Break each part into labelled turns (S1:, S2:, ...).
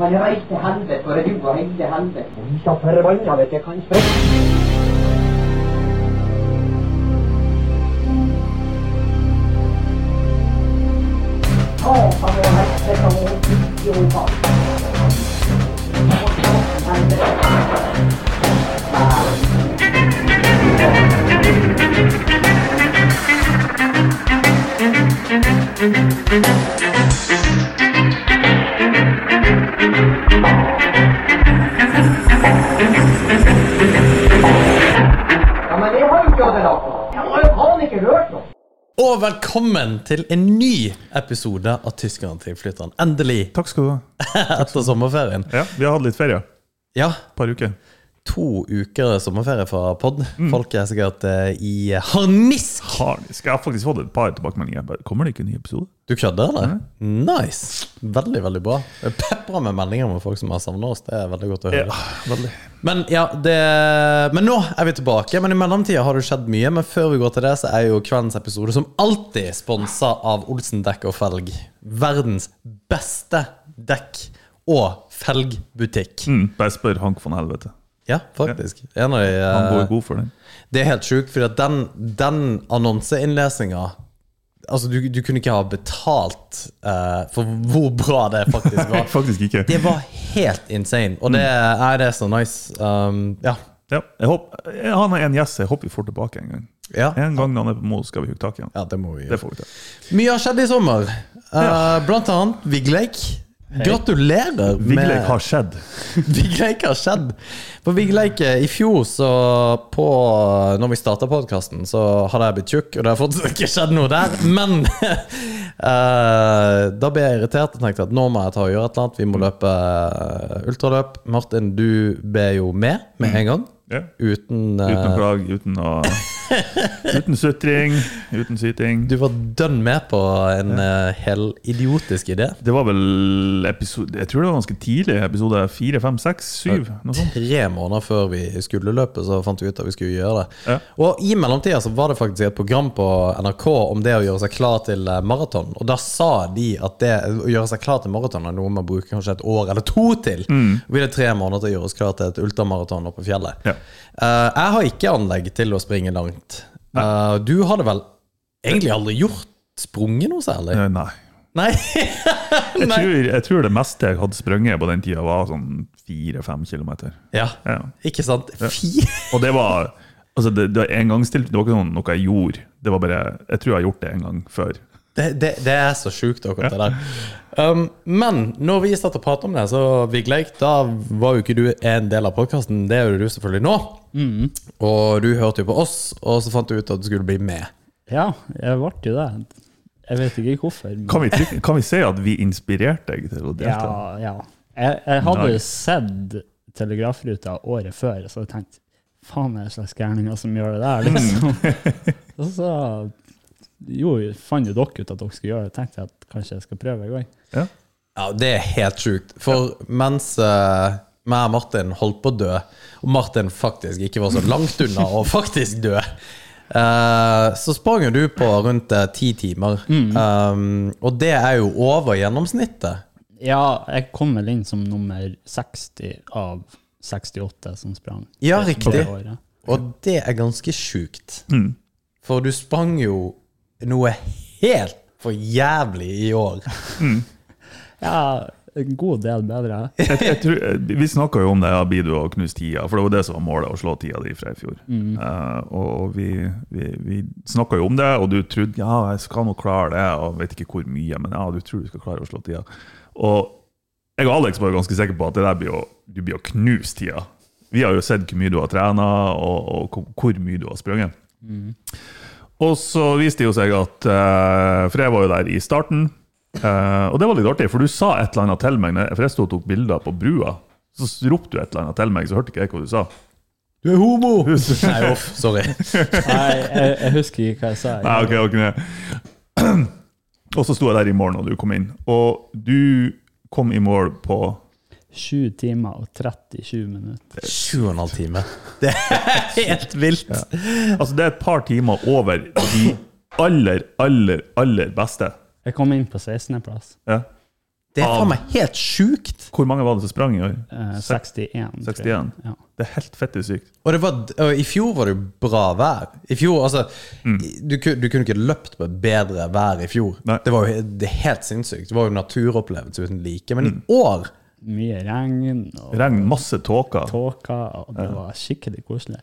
S1: Han reiste til helvete, og det duger ikke til helvete.
S2: Så forbanna vet jeg kanskje.
S1: Satan og helvete og idioter.
S2: Ja, men jeg har jo ikke hatt det nok. Jeg har jo faen ikke hørt noe.
S3: Og velkommen til en ny episode av Tyskerne til flytteren. Endelig,
S4: Takk skal du ha.
S3: etter sommerferien.
S4: Ja, vi har hatt litt ferie.
S3: Ja,
S4: Et par uker.
S3: to uker sommerferie fra pod. Folk er sikkert eh, i harnisk.
S4: Har, skal jeg har faktisk fått et par tilbakemeldinger. Bare, Kommer det ikke en ny episode?
S3: Du kødder, eller? Nice! Veldig, veldig bra. Jeg peprer med meldinger med folk som har savna oss. Det er veldig godt å høre.
S4: veldig.
S3: Men ja, det Men nå er vi tilbake. Men i mellomtida har det skjedd mye. Men før vi går til det, så er jo kveldens episode som alltid sponsa av Olsen dekk og felg. Verdens beste dekk- og felgbutikk.
S4: Mm, bare spør Hank von Helvete.
S3: Ja, faktisk. En av de
S4: Han går
S3: eh,
S4: god for den.
S3: Det er helt sjukt, for den, den annonseinnlesinga Altså, du, du kunne ikke ha betalt eh, for hvor bra det faktisk var.
S4: Faktisk ikke.
S3: Det var helt insane, og det er det er så nice. Um, ja.
S4: Ja, jeg håper, jeg- han er en gjest jeg håper vi får tilbake en gang.
S3: Ja.
S4: En gang når han er på Mo, skal vi hugge tak i han.
S3: ja, det må vi
S4: Det
S3: gjøre.
S4: får vi til.
S3: Mye har skjedd i sommer. Eh, Blant annet Vigleik. Gratulerer
S4: Vigleik har skjedd.
S3: Vigleik har skjedd. På Vigleik eh, i fjor, så på eh, Når vi starta podkasten, så hadde jeg blitt tjukk, og det har fortsatt ikke skjedd noe der. Men eh, da ble jeg irritert og tenkte at nå må jeg ta og gjøre et eller annet. Vi må løpe eh, ultraløp. Martin, du ble jo med med en gang.
S4: Ja.
S3: Uten
S4: Uten
S3: eh,
S4: klag, uten å Uten sutring, uten syting.
S3: Du var dønn med på en eh, helt idiotisk idé.
S4: Det var vel episode Jeg tror det var ganske tidlig. Episode fire, fem, seks, syv. Noe sånt.
S3: Tre måneder før vi skulle løpe, så fant vi ut at vi skulle gjøre det.
S4: Ja.
S3: Og i mellomtida så var det faktisk et program på NRK om det å gjøre seg klar til eh, maraton. Og da sa de at det å gjøre seg klar til maraton er noe man bruker kanskje et år eller to til.
S4: Mm.
S3: Vi hadde tre måneder til å gjøre oss klar til et ultramaraton oppe på fjellet.
S4: Ja.
S3: Eh, jeg har ikke anlegg til å springe langt. Eh, du hadde vel egentlig aldri gjort sprunget noe særlig?
S4: Eh, Nei.
S3: Nei?
S4: Jeg
S3: Nei.
S4: tror, jeg tror det meste jeg hadde sprunget på den tida, var sånn fire-fem kilometer.
S3: Ja.
S4: Ja.
S3: Ikke sant? Fy!
S4: Og det var altså det, det var engangstil- det var ikke sånn noe, noe jeg gjorde. Det var bare, Jeg tror jeg har gjort det en gang før.
S3: Det, det, det er så sjukt, akkurat det der. Um, men når vi startet å prate om det, så Vigleik, da var jo ikke du en del av podkasten. Det er jo du selvfølgelig nå. Mm. Og du hørte jo på oss, og så fant du ut at du skulle bli med.
S5: Ja, jeg ble jo det. Jeg vet ikke hvorfor. men-
S4: Kan vi, trykke, kan vi si at vi inspirerte deg til å delta?
S5: ja, ja. Jeg, jeg hadde
S4: Nice.
S5: jo sett Telegrafruta året før, så jeg tenkte faen er det slags gærninger som gjør det der, liksom.
S3: Mm.
S5: Og så jo, fant jo dere ut at dere skulle gjøre det, tenkte jeg at kanskje jeg skal prøve en gang.
S4: Ja.
S3: Ja, det er helt sjukt. For mens uh, meg og Martin holdt på å dø, og Martin faktisk ikke var så langt unna å faktisk dø, eh, så sprang jo du på rundt eh, ti timer. Um, og det er jo over gjennomsnittet.
S5: Ja, jeg kom vel inn som nummer 60 av 68 som sprang.
S3: Ja,
S5: det-
S3: riktig.
S5: det året.
S3: Og det er ganske sjukt. For du sprang jo noe helt for jævlig i år.
S5: Ja, en god del bedre.
S4: Jeg, jeg tror, vi snakka jo om det, ja, blir du å knuse tida? For det var det som var målet, å slå tida di fra i fjor. Eh, og og vi, vi, vi snakka jo om det, og du trodde ja, jeg skal nå klare det, og vet ikke hvor mye, men ja, du tror du skal klare å slå tida. Og jeg og Alex var jo ganske sikre på at det der blir jo, du blir å knuse tida. Vi har jo sett hvor mye du har trena, og, og hvor- hvor mye du har sprunget. Og så viste det jo seg at eh, For jeg var jo der i starten. eh, og det var litt artig, for du sa et eller annet til meg. når- For jeg stod og tok bilder på brua. Så s- ropte du et eller annet til meg, så hørte ikke jeg hva du sa.
S3: Du er homo! Nei, uff. Sorry.
S5: Nei, jeg, jeg husker ikke hva jeg sa.
S4: Nei, ok, det var ikke det. Og så sto jeg der i morgen, og du kom inn. Og du kom i mål på
S5: 7 timer og 37 minutter.
S3: Sju og en halv time. Det er helt vilt.
S4: Altså, det er et par timer over de aller, aller, aller beste.
S5: Jeg kom inn på 16. plass.
S4: Ja.
S3: Det er
S4: Av-
S3: faen meg helt sjukt!
S4: Hvor mange var det som sprang i år?
S5: Eh, 61. tror jeg.
S4: 61.
S5: Ja.
S4: Det er helt fette sykt.
S3: Og, det var, og i fjor var det jo bra vær. I fjor, altså du, ku- du kunne ikke løpt på et bedre vær i fjor.
S4: Nei.
S3: Det var jo he- det er helt sinnssykt. Det var jo naturopplevelse uten like. Men i år
S5: Mye regn og
S4: Regn, masse tåker.
S5: tåke, og det var skikkelig koselig.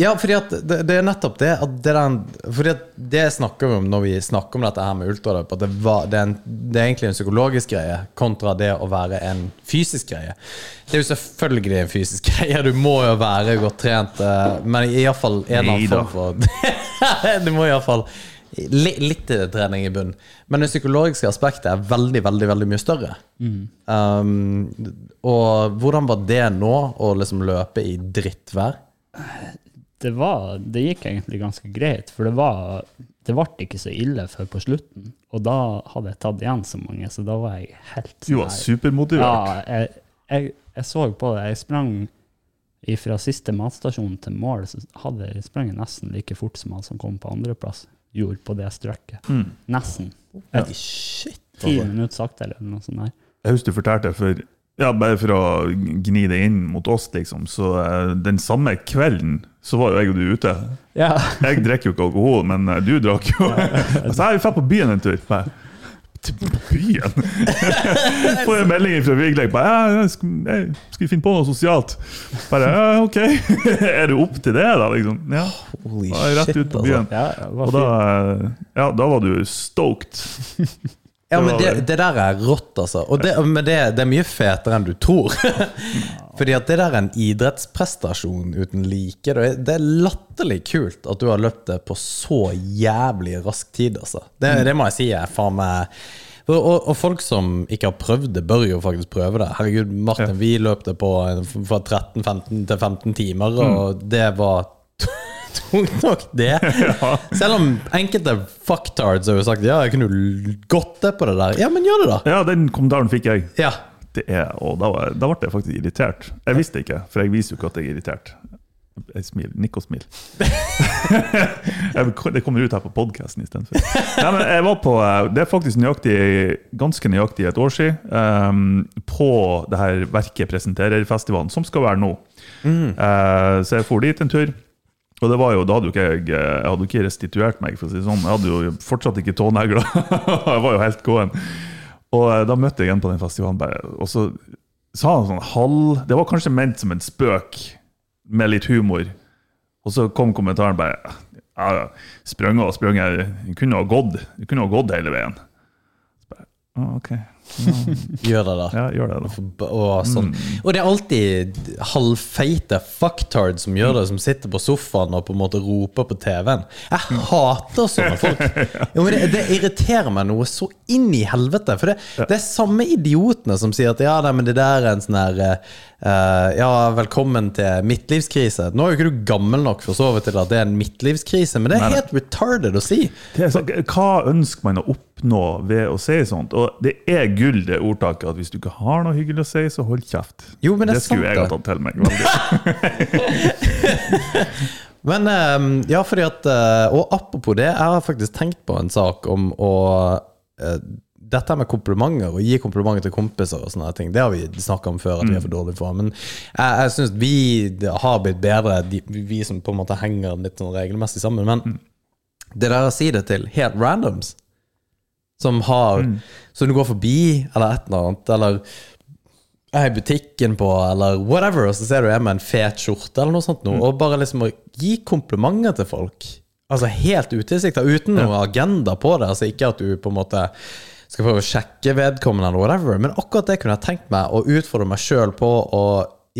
S3: Ja, fordi at det, det er nettopp det at det, er den, fordi at det snakker vi om når vi snakker om dette her med ultraløp, at det, var, det, er en, det er egentlig en psykologisk greie kontra det å være en fysisk greie. Det er jo selvfølgelig en fysisk greie, du må jo være godt trent, eh, men iallfall en eller annen
S4: Neida.
S3: form for Du må iallfall li, litt trening i bunnen. Men det psykologiske aspektet er veldig, veldig, veldig mye større. Um, og hvordan var det nå, å liksom løpe i drittvær?
S5: det, var, det gikk egentlig ganske greit, for det, var, det ble ikke så ille før på slutten. Og da hadde jeg tatt igjen så mange, så da var jeg helt sånn
S4: Du var
S5: nær.
S4: supermotivert.
S5: Ja, jeg, jeg, jeg så på det. Jeg sprang fra siste matstasjon til mål, så hadde jeg sprang jeg nesten like fort som han som kom på andreplass, gjorde på det strekket. Nesten.
S3: Mm. Ja. Shit.
S5: Ti minutter saktere eller noe sånt der.
S4: Jeg husker du fortalte for ja, bare for å gni det inn mot oss, liksom. Så eh, den samme kvelden så var jo jeg og du ute.
S5: Ja.
S4: Jeg drikker jo ikke alkohol, men eh, du drakk jo. Så jeg vi drar på byen en tur. Bare, til byen? Får jeg en melding fra Vigleik. Bare, ja, jeg skal, jeg skal vi finne på noe sosialt? Bare, ja, ok. Er du opp til det, da? Liksom. Ja.
S3: Holy
S4: Da er jeg rett
S3: shit, altså.
S4: ut på byen. Og
S5: altså. ja det var
S4: da,
S5: fint.
S4: eh, ja, da var du stoked.
S3: Ja,
S4: Det
S3: men
S4: var
S3: det,
S4: det.
S3: det der er rått, altså. Og det, men det, det er mye fetere enn du tror. Fordi at det der er en idrettsprestasjon uten like. Det er- Det er latterlig kult at du har løpt det på så jævlig rask tid, altså.
S4: Mm.
S3: Det, det må jeg si er faen meg og, og, og folk som ikke har prøvd det, bør jo faktisk prøve det. Herregud, Martin,
S4: Ja.
S3: vi løp det på en- fra 13-15 til 15 timer,
S4: Mm.
S3: og det var tungt nok, det. Selv om enkelte fucktards har jo sagt ja, jeg kunne jo gått det på det der. Ja, men gjør det, da.
S4: Ja, den kommentaren fikk jeg.
S3: Ja.
S4: Det er, og da, var, jeg- da ble jeg faktisk irritert. Jeg visste ikke, for jeg viser jo ikke at jeg er irritert. Jeg smil, nikk og smil. Jeg- det kommer ut her på podkasten istedenfor. Nei, men jeg var på, eh, Det er faktisk nøyaktig, ganske nøyaktig et år siden, ehm, på det her Verket presenterer-festivalen, som skal være nå. Eh, så jeg for dit en tur. Og det var jo, da hadde jo ikke jeg, jeg hadde jo ikke restituert meg, for å si det sånn. Jeg hadde jo fortsatt ikke tånegler. jeg var jo helt gåen. Og eh, da møtte jeg en på den festivalen, bare, og så sa han sånn halv Det var kanskje ment som en spøk, med litt humor. Og så kom kommentaren bare ja, ja, Sprang og sprang. Jeg kunne ha gått jeg kunne ha gått hele veien. Så bare, «Å, OK.
S3: Gjør det, da.
S4: Ja, gjør det, da.
S3: Forba- Og, sånn. og det er alltid halvfeite fucktard som gjør det, som sitter på sofaen og på en måte roper på TV-en. Jeg hater sånne folk. Jo, men det, det irriterer meg noe så inn i helvete. For det, det er samme idiotene som sier at ja, nei, men det der er en sånn her eh, Ja, velkommen til midtlivskrise. Nå er jo ikke du gammel nok for så vidt til at det er en midtlivskrise, men det er helt retarded å si.
S4: Det er sånn, hva ønsker man å oppnå ved å si sånt? Og det er gull, det ordtaket, at hvis du ikke har noe hyggelig å si, så hold kjeft.
S3: Jo, men det er sant,
S4: skulle jeg
S3: det.
S4: ha tatt til meg. veldig.
S3: Men eh, ja, fordi at eh, Og apropos det, jeg har faktisk tenkt på en sak om å eh, Dette med komplimenter, å gi komplimenter til kompiser og sånne her ting, det har vi snakka om før at vi er for dårlige for. Men jeg, jeg syns vi har blitt bedre, de, vi som på en måte henger litt sånn regelmessig sammen. Men det der å si det til helt randoms, som har Som du går forbi, eller et eller annet, eller jeg er i butikken på, eller whatever, og så ser du jeg med en fet skjorte eller noe sånt, nå, og bare liksom å gi komplimenter til folk. Altså helt utilsikta, uten noen agenda på det. Altså ikke at du på en måte skal prøve å sjekke vedkommende eller whatever, men akkurat det kunne jeg tenkt meg å utfordre meg sjøl på å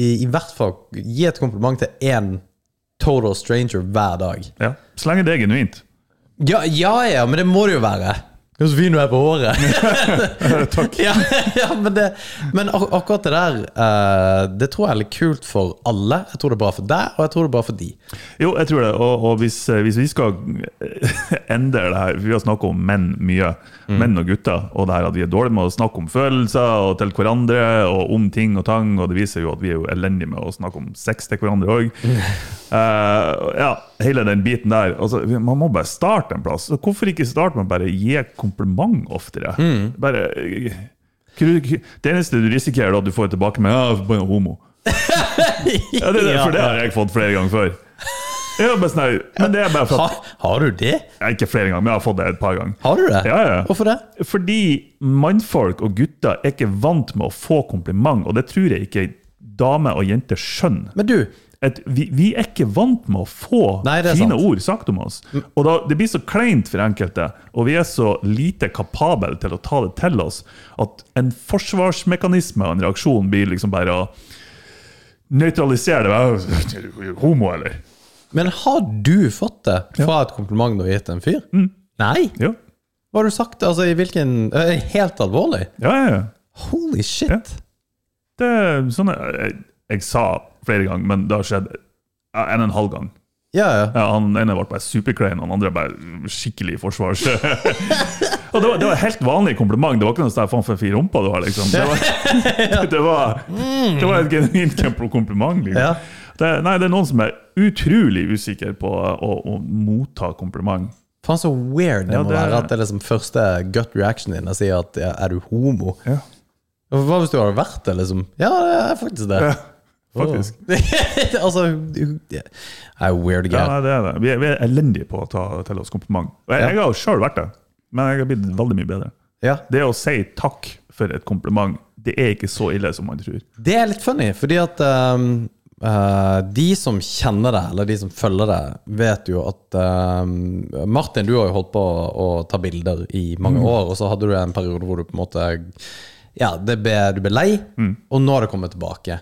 S3: i, i hvert fall gi et kompliment til én total stranger hver dag.
S4: Ja. Så lenge det er genuint.
S3: Ja, ja, ja, men det må det jo være. Hva så fin du er på håret. Takk. Ja, ja, men det, men ak akkurat det der, eh, det tror jeg er litt kult for alle. Jeg tror det er bra for deg, og jeg tror det er bra for de.
S4: Jo, jeg tror det. Og, og hvis, eh, hvis vi skal endre det her for Vi har snakket om menn mye. Menn og gutter. Og det her at vi er dårlige med å snakke om følelser og til hverandre og om ting og tang. Og det viser jo at vi er jo elendige med å snakke om sex til hverandre òg. ja, hele den biten der. Altså, vi- man må bare starte en plass. Så Hvorfor ikke starte med å bare gi kompliment oftere? Bare Hva du- hva- eh, Det eneste du risikerer, er at du får tilbake med ja, bare en homo. Ja, det, er det, for det har jeg fått flere ganger før. Ja, bare sånn, her, men det er bare for
S3: Ha,
S4: at,
S3: har du det?
S4: Ja, Ikke flere ganger, men jeg har fått det et par ganger.
S3: Har du det?
S4: Ja, ja.
S3: Hvorfor det?
S4: Fordi mannfolk og gutter er ikke vant med å få kompliment, og det tror jeg ikke damer og jenter skjønner.
S3: Men du,
S4: at vi, vi er ikke vant med å få
S3: Nei, det er
S4: fine
S3: sant. Mm.
S4: ord sagt om oss. Og da, Det blir så kleint for enkelte, og vi er så lite kapable til å ta det til oss, at en forsvarsmekanisme og en reaksjon blir liksom bare å nøytralisere det. «Hva, Homo, eller?
S3: men har du fått det fra et kompliment du har gitt en fyr? Nei?
S4: Ja,
S3: Hva har du sagt? Altså, i hvilken eh, Helt alvorlig?
S4: ja, ja. ja.
S3: Holy shit!
S4: Ja. Det er sånn jeg, jeg, jeg sa flere ganger, men det har skjedd ja, en og en halv gang.
S3: Ja, ja.
S4: Ja, han ene ble bare superklein, han andre bare skikkelig forsvars... og det var, det var helt vanlig kompliment. Det var ikke noe sånn 'faen for en fin rumpe du har', liksom. Det var, det var, det var et genuint kjempe- kompliment. Liksom.
S3: Ja.
S4: Det, nei, det er noen som er utrolig usikker på å, å motta kompliment.
S3: Faen så weird det
S4: Ja,
S3: må
S4: det er-
S3: være at det er liksom første gut reaction din å si at ja, er du homo?
S4: Ja.
S3: Hva hvis du hadde vært det, liksom? Ja, det er faktisk det.
S4: Faktisk.
S3: altså Jeg er weird guy.
S4: Ja, nei, det er det. Vi er, vi er elendige på å ta til oss kompliment. Og jeg,
S3: Ja.
S4: jeg har jo sjøl vært det, men jeg har blitt veldig mye bedre.
S3: Ja.
S4: Det å si takk for et kompliment, det er ikke så ille som man tror.
S3: Det er litt funny, fordi at ehm, eh, de som kjenner det, eller de som følger det, vet jo at ehm, Martin, du har jo holdt på å, å ta bilder i mange
S4: Mm.
S3: år, og så hadde du en periode hvor du på en måte Ja, det ble, du ble lei,
S4: Mm.
S3: og nå har det kommet tilbake.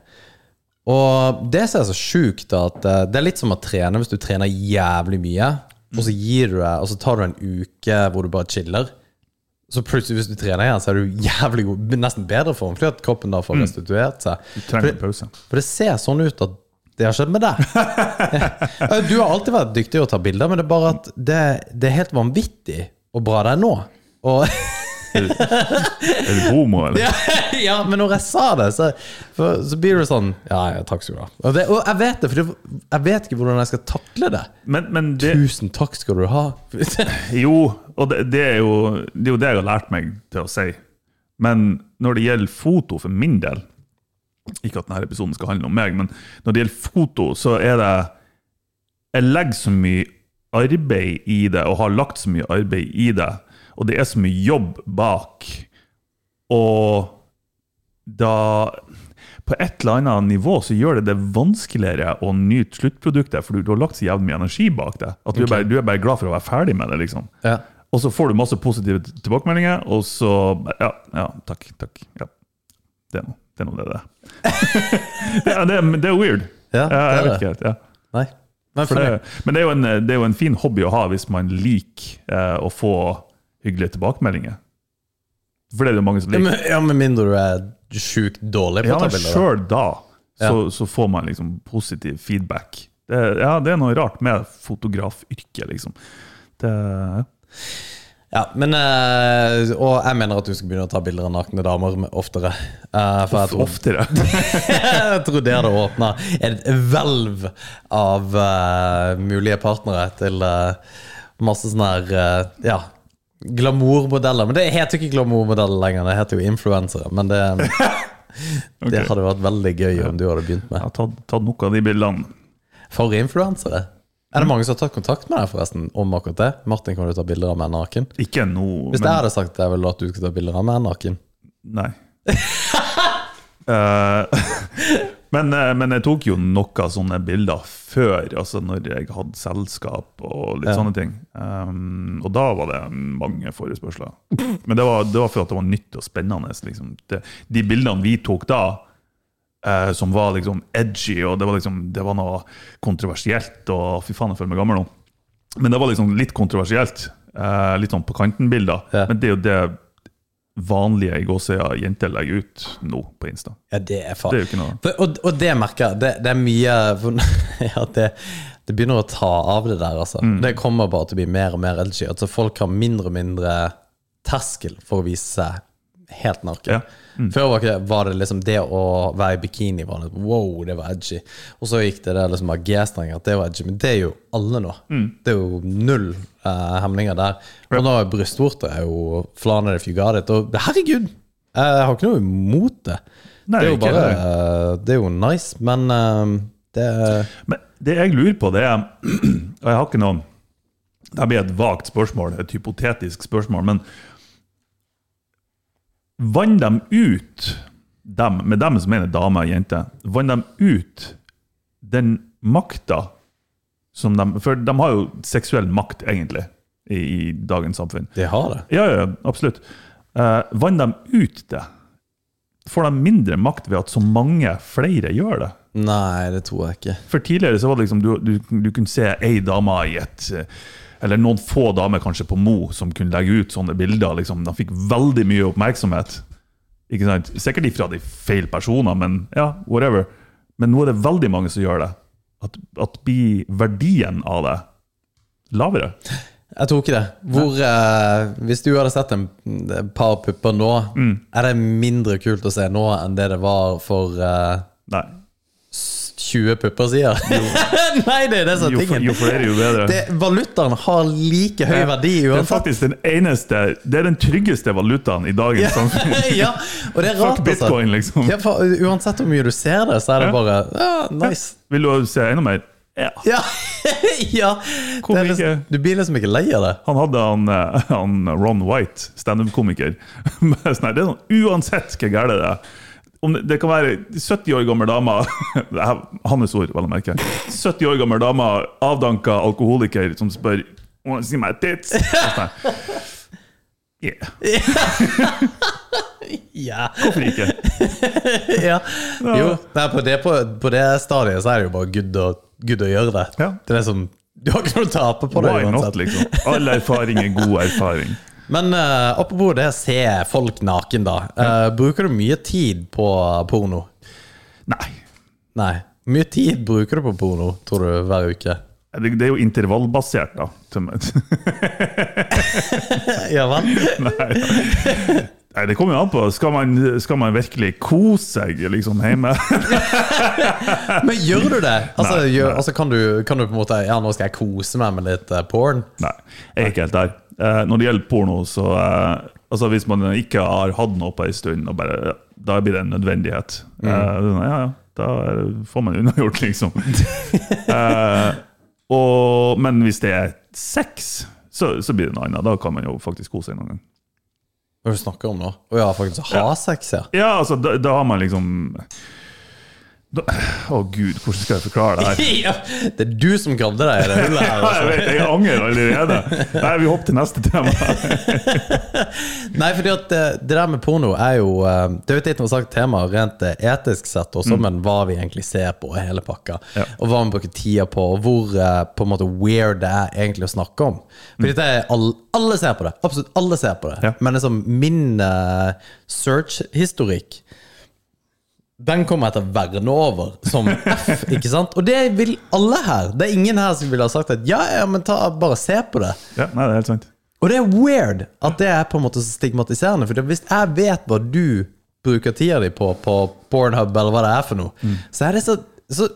S3: Og det som er så sjukt, at eh, det er litt som å trene hvis du trener jævlig mye, og så gir du deg, og så tar du en uke hvor du bare chiller. Så plutselig, hvis du trener igjen, så er du jævlig god, nesten bedre form, fordi at kroppen da får restituert seg.
S4: Trenger en
S3: For,
S4: pause.
S3: for det ser sånn ut at det har skjedd med deg. Eh, du har alltid vært dyktig til å ta bilder, men det er bare at det, det er helt vanvittig hvor bra det er nå. Og
S4: Er du homo, eller?
S3: ja, men når jeg sa det, så, for, så blir det sånn Ja, ja, takk skal du ha. Og, det, og jeg vet det, for det, jeg vet ikke hvordan jeg skal takle det.
S4: Men, men det,
S3: Tusen takk skal du ha.
S4: Jo, og det, det, er jo, det er jo det jeg har lært meg til å si. Men når det gjelder foto, for min del Ikke at denne episoden skal handle om meg, men når det gjelder foto, så er det Jeg legger så mye arbeid i det, og har lagt så mye arbeid i det, og det er så mye jobb bak. Og da På et eller annet nivå så gjør det det vanskeligere å nyte sluttproduktet, for du, du har lagt så jævlig mye energi bak det. At du, er bare, du er bare glad for å være ferdig med det, liksom.
S3: ja.
S4: Og så får du masse positive t- tilbakemeldinger, og så Ja, ja takk, takk. Ja. Det er noe det er. Noe det, det. er. det, er, det, er, det er weird.
S3: Ja,
S4: jeg
S3: det
S4: vet
S3: er det.
S4: ikke helt. Ja.
S3: Nei. Men
S4: For
S3: for
S4: det, men det er, jo en, det er jo en fin hobby å ha hvis man liker eh, å få hyggelige tilbakemeldinger. For det er det jo mange som
S3: Ja,
S4: liker.
S3: men, ja, med mindre du er sjukt dårlig på
S4: Ja,
S3: å ta
S4: men
S3: bilder. da.
S4: sjøl da så, så får man liksom positiv feedback. Det, ja, det er noe rart med fotografyrket, liksom. Det,
S3: Ja, men, eh, og jeg mener at du skal begynne å ta bilder av nakne damer oftere. Eh, for jeg tror,
S4: oftere.
S3: jeg tror det hadde åpna et hvelv av eh, mulige partnere til eh, masse sånne her eh, Ja. Glamourmodeller. Men det heter jo ikke glamourmodeller lenger, det heter jo influensere. Men det, det hadde vært veldig gøy om du hadde begynt
S4: Jeg
S3: med.
S4: har tatt, tatt noen av de bildene.
S3: For influensere? Er det mange som har tatt kontakt med deg forresten om akkurat det? Martin, kan du ta bilder av meg naken?
S4: Ikke nå,
S3: Hvis jeg
S4: men
S3: hadde sagt det, ville du at du skulle ta bilder av meg naken?
S4: Nei. Eh, men, eh, men jeg tok jo noen sånne bilder før, altså når jeg hadde selskap og litt sånne ting. Um, og da var det mange forespørsler. Men det var, det var for at det var nytt og spennende. Liksom. Det, de bildene vi tok da, eh, som var liksom edgy, og det var, liksom, det var noe kontroversielt, og fy faen, jeg føler meg gammel nå. Men det var liksom litt kontroversielt. eh, litt sånn på kanten-bilder.
S3: Ja.
S4: Men det er jo det vanlige i gåsøya jenter legger ut nå på Insta.
S3: Ja, det er faen
S4: Det er jo ikke noe.
S3: For- Og, og det merker jeg. Det, det er mye for, ja, det, det begynner å ta av det der, altså.
S4: Mm.
S3: Det kommer bare til å bli mer og mer edgy. Altså, folk har mindre og mindre terskel for å vise seg helt naken.
S4: Ja. Mm.
S3: Før var det, var det liksom det å være i bikini var liksom, Wow, det var edgy. Og så gikk det der liksom av G-strenger at det var edgy. Men det er jo alle nå.
S4: Mm.
S3: Det er jo null eh, hemninger der. Og nå er brystvorter jo flanet if you got it. Og herregud! Jeg jeg har ikke noe imot det.
S4: Nei,
S3: det er jo
S4: ikke
S3: bare
S4: det.
S3: eh, Det er jo nice, men eh, det
S4: Men det jeg lurer på, det er Og jeg har ikke noe Det blir et vagt spørsmål, et hypotetisk spørsmål, men Vann dem ut, dem, med dem som mener damer og jenter, vann dem ut den makta som de For de har jo seksuell makt, egentlig, i, i dagens samfunn.
S3: De har det.
S4: Ja, ja, ja, absolutt. Eh, vann dem ut det. Får de mindre makt ved at så mange flere gjør det?
S3: Nei, det tror jeg ikke.
S4: For tidligere så var det liksom du, du, du kunne se ei dame i et Eller noen få damer kanskje på Mo som kunne legge ut sånne bilder. liksom De fikk veldig mye oppmerksomhet. Ikke sant? Sikkert ifra de feil personer, men ja, whatever. Men nå er det veldig mange som gjør det. At, at blir verdien av det lavere?
S3: Jeg tror ikke det. Hvor, eh, hvis du hadde sett en et par pupper nå,
S4: Mm.
S3: er det mindre kult å se nå enn det det var for eh,
S4: Nei.
S3: 20 pupper siden? Nei, det er det som
S4: Jo,
S3: er
S4: f-
S3: tingen.
S4: jo flere, jo bedre.
S3: Det, valutaen har like høy verdi
S4: Det er
S3: uansett.
S4: faktisk den eneste Det er den tryggeste valutaen i dagens samfunn.
S3: ja, og det er rart.
S4: sånn.
S3: altså.
S4: Fuck bitcoin, liksom.
S3: Ja, for uansett hvor mye du ser det, så er det bare ja, nice.
S4: Vil du se enda mer? Ja.
S3: Ja, ja. Det
S4: Hvorfor
S3: er liksom,
S4: ikke?
S3: du blir liksom ikke lei av det.
S4: Han hadde han, eh, han Ron White, standup-komiker. Men sånn her, det er sånn, Uansett hvor gærent det er om det, det kan være 70 år gammel dame det er Hans ord, vel å merke. 70 år gammel dame, avdanka alkoholiker, som spør «Wanna see my tits?» Og sånn her, Yeah,
S3: Ja.
S4: hvorfor ikke?
S3: ja. Jo, nei, på, det, på, på det stadiet så er det jo bare good å, good å gjøre det.
S4: Ja.
S3: Det er liksom, du har ikke noe å tape på det.
S4: Why not,
S3: uansett.
S4: liksom? All erfaring er god erfaring.
S3: Men eh, apropos det, se folk naken, da. Eh, bruker du mye tid på porno?
S4: Nei.
S3: Nei. Hvor mye tid bruker du på porno, tror du, hver uke?
S4: Det, det er jo intervallbasert, da. til meg.
S3: Ja vel?
S4: Nei, det kommer jo an på. Skal man, skal man virkelig kose seg liksom hjemme?
S3: Men gjør du det? Altså,
S4: Nei,
S3: gjør,
S4: nei.
S3: altså kan, du, kan du på en måte Ja, nå skal jeg kose meg med litt eh, porn.
S4: Nei, jeg er ikke helt der. Eh, når det gjelder porno, så eh, altså Hvis man ikke har hatt noe på en stund, og bare, da blir det en nødvendighet. Eh, sånn, ja, ja, da er- får man unnagjort, liksom. Eh, og, men hvis det er sex, så, så blir det noe annet. Da kan man jo faktisk kose seg noen gang.
S3: Hva er det du snakker om nå? Å ja, faktisk ha sex, ja.
S4: Ja, altså, da, da har man liksom da- Å gud, hvordan skal jeg forklare det her?
S3: ja! Det er du som gravde deg i det hullet her.
S4: Ja, jeg
S3: Altså.
S4: vet, jeg angrer allerede. Nei, vi hopper til neste tema.
S3: Nei, fordi at det, det der med porno er jo eh, Det er jo et litt interessant tema rent eh, etisk sett også, men hva vi egentlig ser på i hele pakka.
S4: Mm. Ja.
S3: Og hva vi bruker tida på, og hvor eh, på en måte weird det er egentlig å snakke om. Fordi det er all, Alle ser på det. Absolutt alle ser på det.
S4: Mm. Ja.
S3: Men liksom min eh, search-historikk den kommer etter verne over som F, ikke sant? Og det vil alle her. Det er ingen her som ville ha sagt at ja, ja, men ta, bare se på det.
S4: Ja, nei, det er helt sant.
S3: Og det er weird at det er på en måte så stigmatiserende. For hvis jeg vet hva du bruker tida di på på Pornhub, eller hva det er for noe,
S4: Mm.
S3: så er det så, så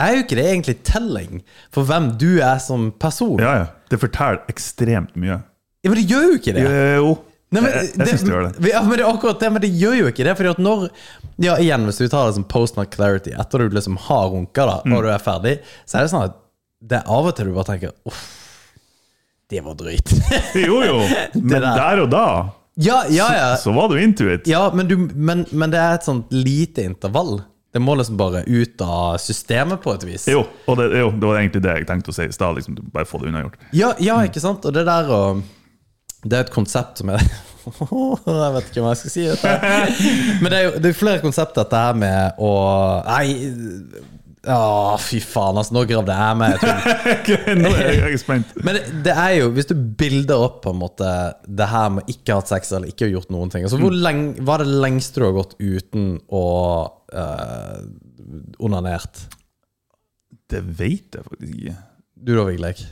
S3: er jo ikke det egentlig telling for hvem du er som person. Ja,
S4: Ja, ja. Det forteller ekstremt mye.
S3: Men det gjør jo ikke det.
S4: Jo.
S3: Nei, men,
S4: jeg jeg, jeg syns det gjør det.
S3: Ja, men det er akkurat det, men det gjør jo ikke det. Fordi at når Ja, igjen, hvis du tar det som post not clarity, etter du liksom har runka, da,
S4: Mm.
S3: og du er ferdig, så er det sånn at det er av og til du bare tenker uff, det var drøyt.
S4: Jo, jo. Men
S3: der.
S4: der og da,
S3: ja, ja, ja.
S4: så var du into it.
S3: Ja, men, du, men, men det er et sånt lite intervall. Det må liksom bare ut av systemet på et vis.
S4: Jo, og det, jo, det var egentlig det jeg tenkte å si i stad. Liksom, du bare få det unnagjort.
S3: Ja, ja, ikke sant? Og det der og, Det er et konsept som er Jeg vet ikke hva jeg skal si. Dette. her. Men det er jo det er flere konsept, dette her med å Nei, å, fy faen, altså. Nå gravde jeg meg. Jeg tror
S4: Nå er jeg, jeg er spent.
S3: Men det, det er jo, hvis du bilder opp på en måte det her med ikke ha hatt sex eller ikke ha gjort noen ting altså, Hvor lenge, Hva er det lengste du har gått uten å eh, onanert?
S4: Det veit jeg faktisk ikke.
S3: Du da, Vigleik?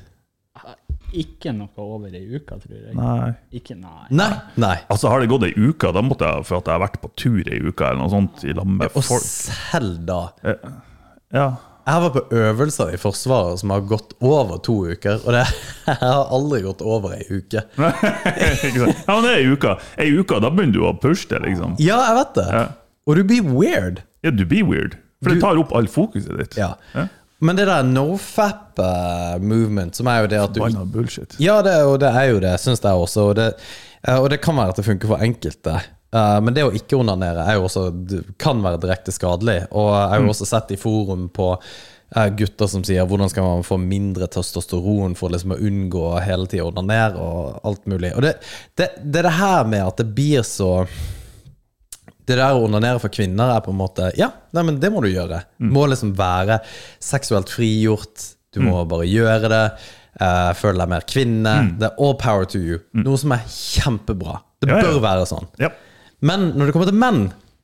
S5: Ikke noe over ei uke, tror jeg.
S4: Nei.
S5: Ikke, nei.
S3: Nei. Nei.
S4: Altså, har det gått ei uke, da måtte jeg for at jeg har vært på tur ei uke eller noe sånt i lag med
S3: Og
S4: folk.
S3: selv da.
S4: Ja.
S3: Jeg var på øvelser i Forsvaret som har gått over to uker, og det jeg har aldri gått over ei uke.
S4: Ikke sant? Ja, men det er ei uke. Ei uke, da begynner du å pushe det, liksom.
S3: Ja, jeg vet det.
S4: Ja.
S3: Og du blir weird.
S4: Ja, du blir weird. For det
S3: Du-
S4: tar opp all fokuset ditt.
S3: Ja. Men det der nofap-movement, som er jo det at du
S4: Banna bullshit.
S3: Ja, det, og det er jo det, syns jeg også. Og det, eh, og det kan være at det funker for enkelte. Eh, Men det å ikke onanere er jo også, det kan være direkte skadelig. Og jeg har jo også sett i forum på eh, gutter som sier hvordan skal man få mindre testosteron for liksom å unngå å hele tida å onanere og alt mulig. Og det, det, det er det her med at det blir så det der å onanere for kvinner er på en måte Ja, nei, men det må du gjøre.
S4: Mm.
S3: Du må liksom være seksuelt frigjort. Du må
S4: Mm.
S3: bare gjøre det. eh, føle deg mer kvinne. Det er all power to you. Noe som er kjempebra. Det
S4: Mm. Ja, ja.
S3: bør være sånn.
S4: Ja.
S3: Men når det kommer til menn,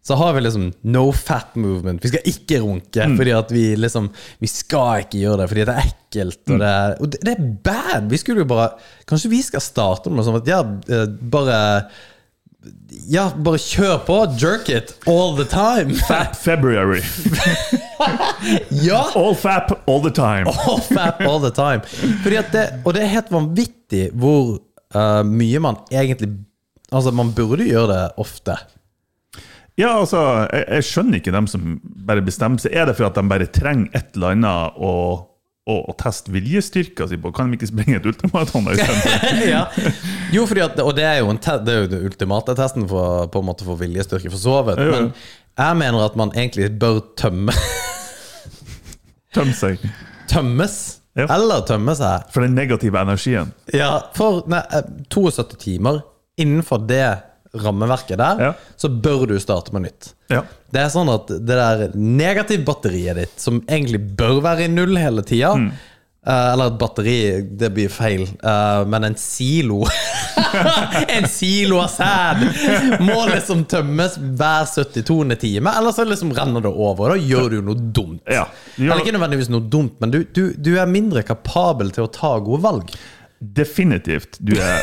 S3: så har vi liksom no fat movement. Vi skal ikke runke, fordi at vi liksom Vi skal ikke gjøre det fordi det er ekkelt. Og det er, og det, det er bad! Vi skulle jo bare Kanskje vi skal starte med noe sånt at ja, eh, bare Ja, bare kjør på! Jerk it all the time!
S4: Fat February.
S3: Ja!
S4: All fap all the time.
S3: all fat all the time. Fordi at det, og det er helt vanvittig hvor eh, mye man egentlig Altså, man burde gjøre det ofte.
S4: Ja, altså, jeg, jeg skjønner ikke dem som bare bestemmer seg. Er det for at de bare trenger et eller annet å, å, å teste viljestyrka si på? Kan de ikke springe et ultramaraton? da i stedet?
S3: ja. Jo, fordi at, og det er jo, en te det er jo den ultimate testen for, på en måte for viljestyrke for så vidt.
S4: Ja, ja.
S3: Men jeg mener at man egentlig bør tømme,
S4: Tømme seg
S3: tømmes.
S4: Ja.
S3: Eller tømme seg.
S4: for den negative energien.
S3: Ja, for nei, eh, 72 timer innenfor det rammeverket der,
S4: Ja.
S3: så bør du starte på nytt.
S4: Ja.
S3: Det er sånn at det der negativbatteriet ditt, som egentlig bør være i null hele tida
S4: Mm.
S3: eh, Eller et batteri, det blir feil, eh, men en silo En silo av sæd må liksom tømmes hver 72. time, eller så liksom renner det over. og Da gjør du jo noe dumt.
S4: Ja.
S3: Eller ikke nødvendigvis noe dumt, men du, du, du er mindre kapabel til å ta gode valg.
S4: Definitivt. Du er,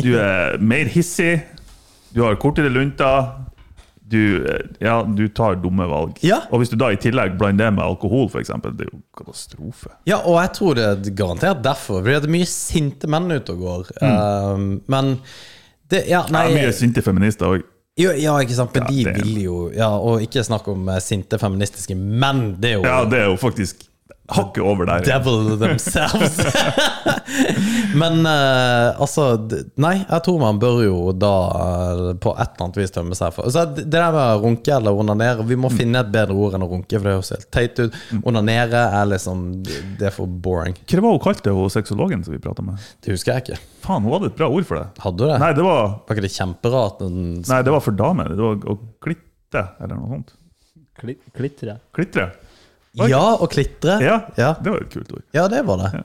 S4: du er mer hissig, du har kortere lunter, du, eh, ja, du tar dumme valg.
S3: Ja.
S4: Og hvis du da i tillegg blander det med alkohol, f.eks., det er jo katastrofe.
S3: Ja, og jeg tror det er garantert derfor. Fordi det er mye sinte menn ute og går. Eh, men det, ja, nei,
S4: Det er Mm. mye sinte feminister òg.
S3: Jo, ja, ikke sant, men
S4: Ja,
S3: de
S4: det-
S3: vil jo ja, Og ikke snakk om eh, sinte feministiske menn, det er jo
S4: Ja, det er jo faktisk hakket over der.
S3: devil themselves. men eh, altså d- Nei, jeg tror man bør jo da eh, på et eller annet vis tømme seg for Så Det det der med å runke eller onanere Vi
S4: Mm.
S3: må finne et bedre ord enn å runke, for det høres helt teit ut. Onanere er liksom Det er for boring.
S4: Hva var hun kalte hun sexologen som vi prata med?
S3: Det husker jeg ikke.
S4: Faen, hun hadde et bra ord for det.
S3: Hadde du det?
S4: Nei, det var,
S3: Var ikke det kjemperart? når den-
S4: nei, det var for damer. Det var å klitte, eller noe sånt.
S5: Kli- Klitre.
S4: Klitre.
S3: Ja, og klitre.
S4: Ja,
S3: ja.
S4: det var et kult ord.
S3: Ja, det var det.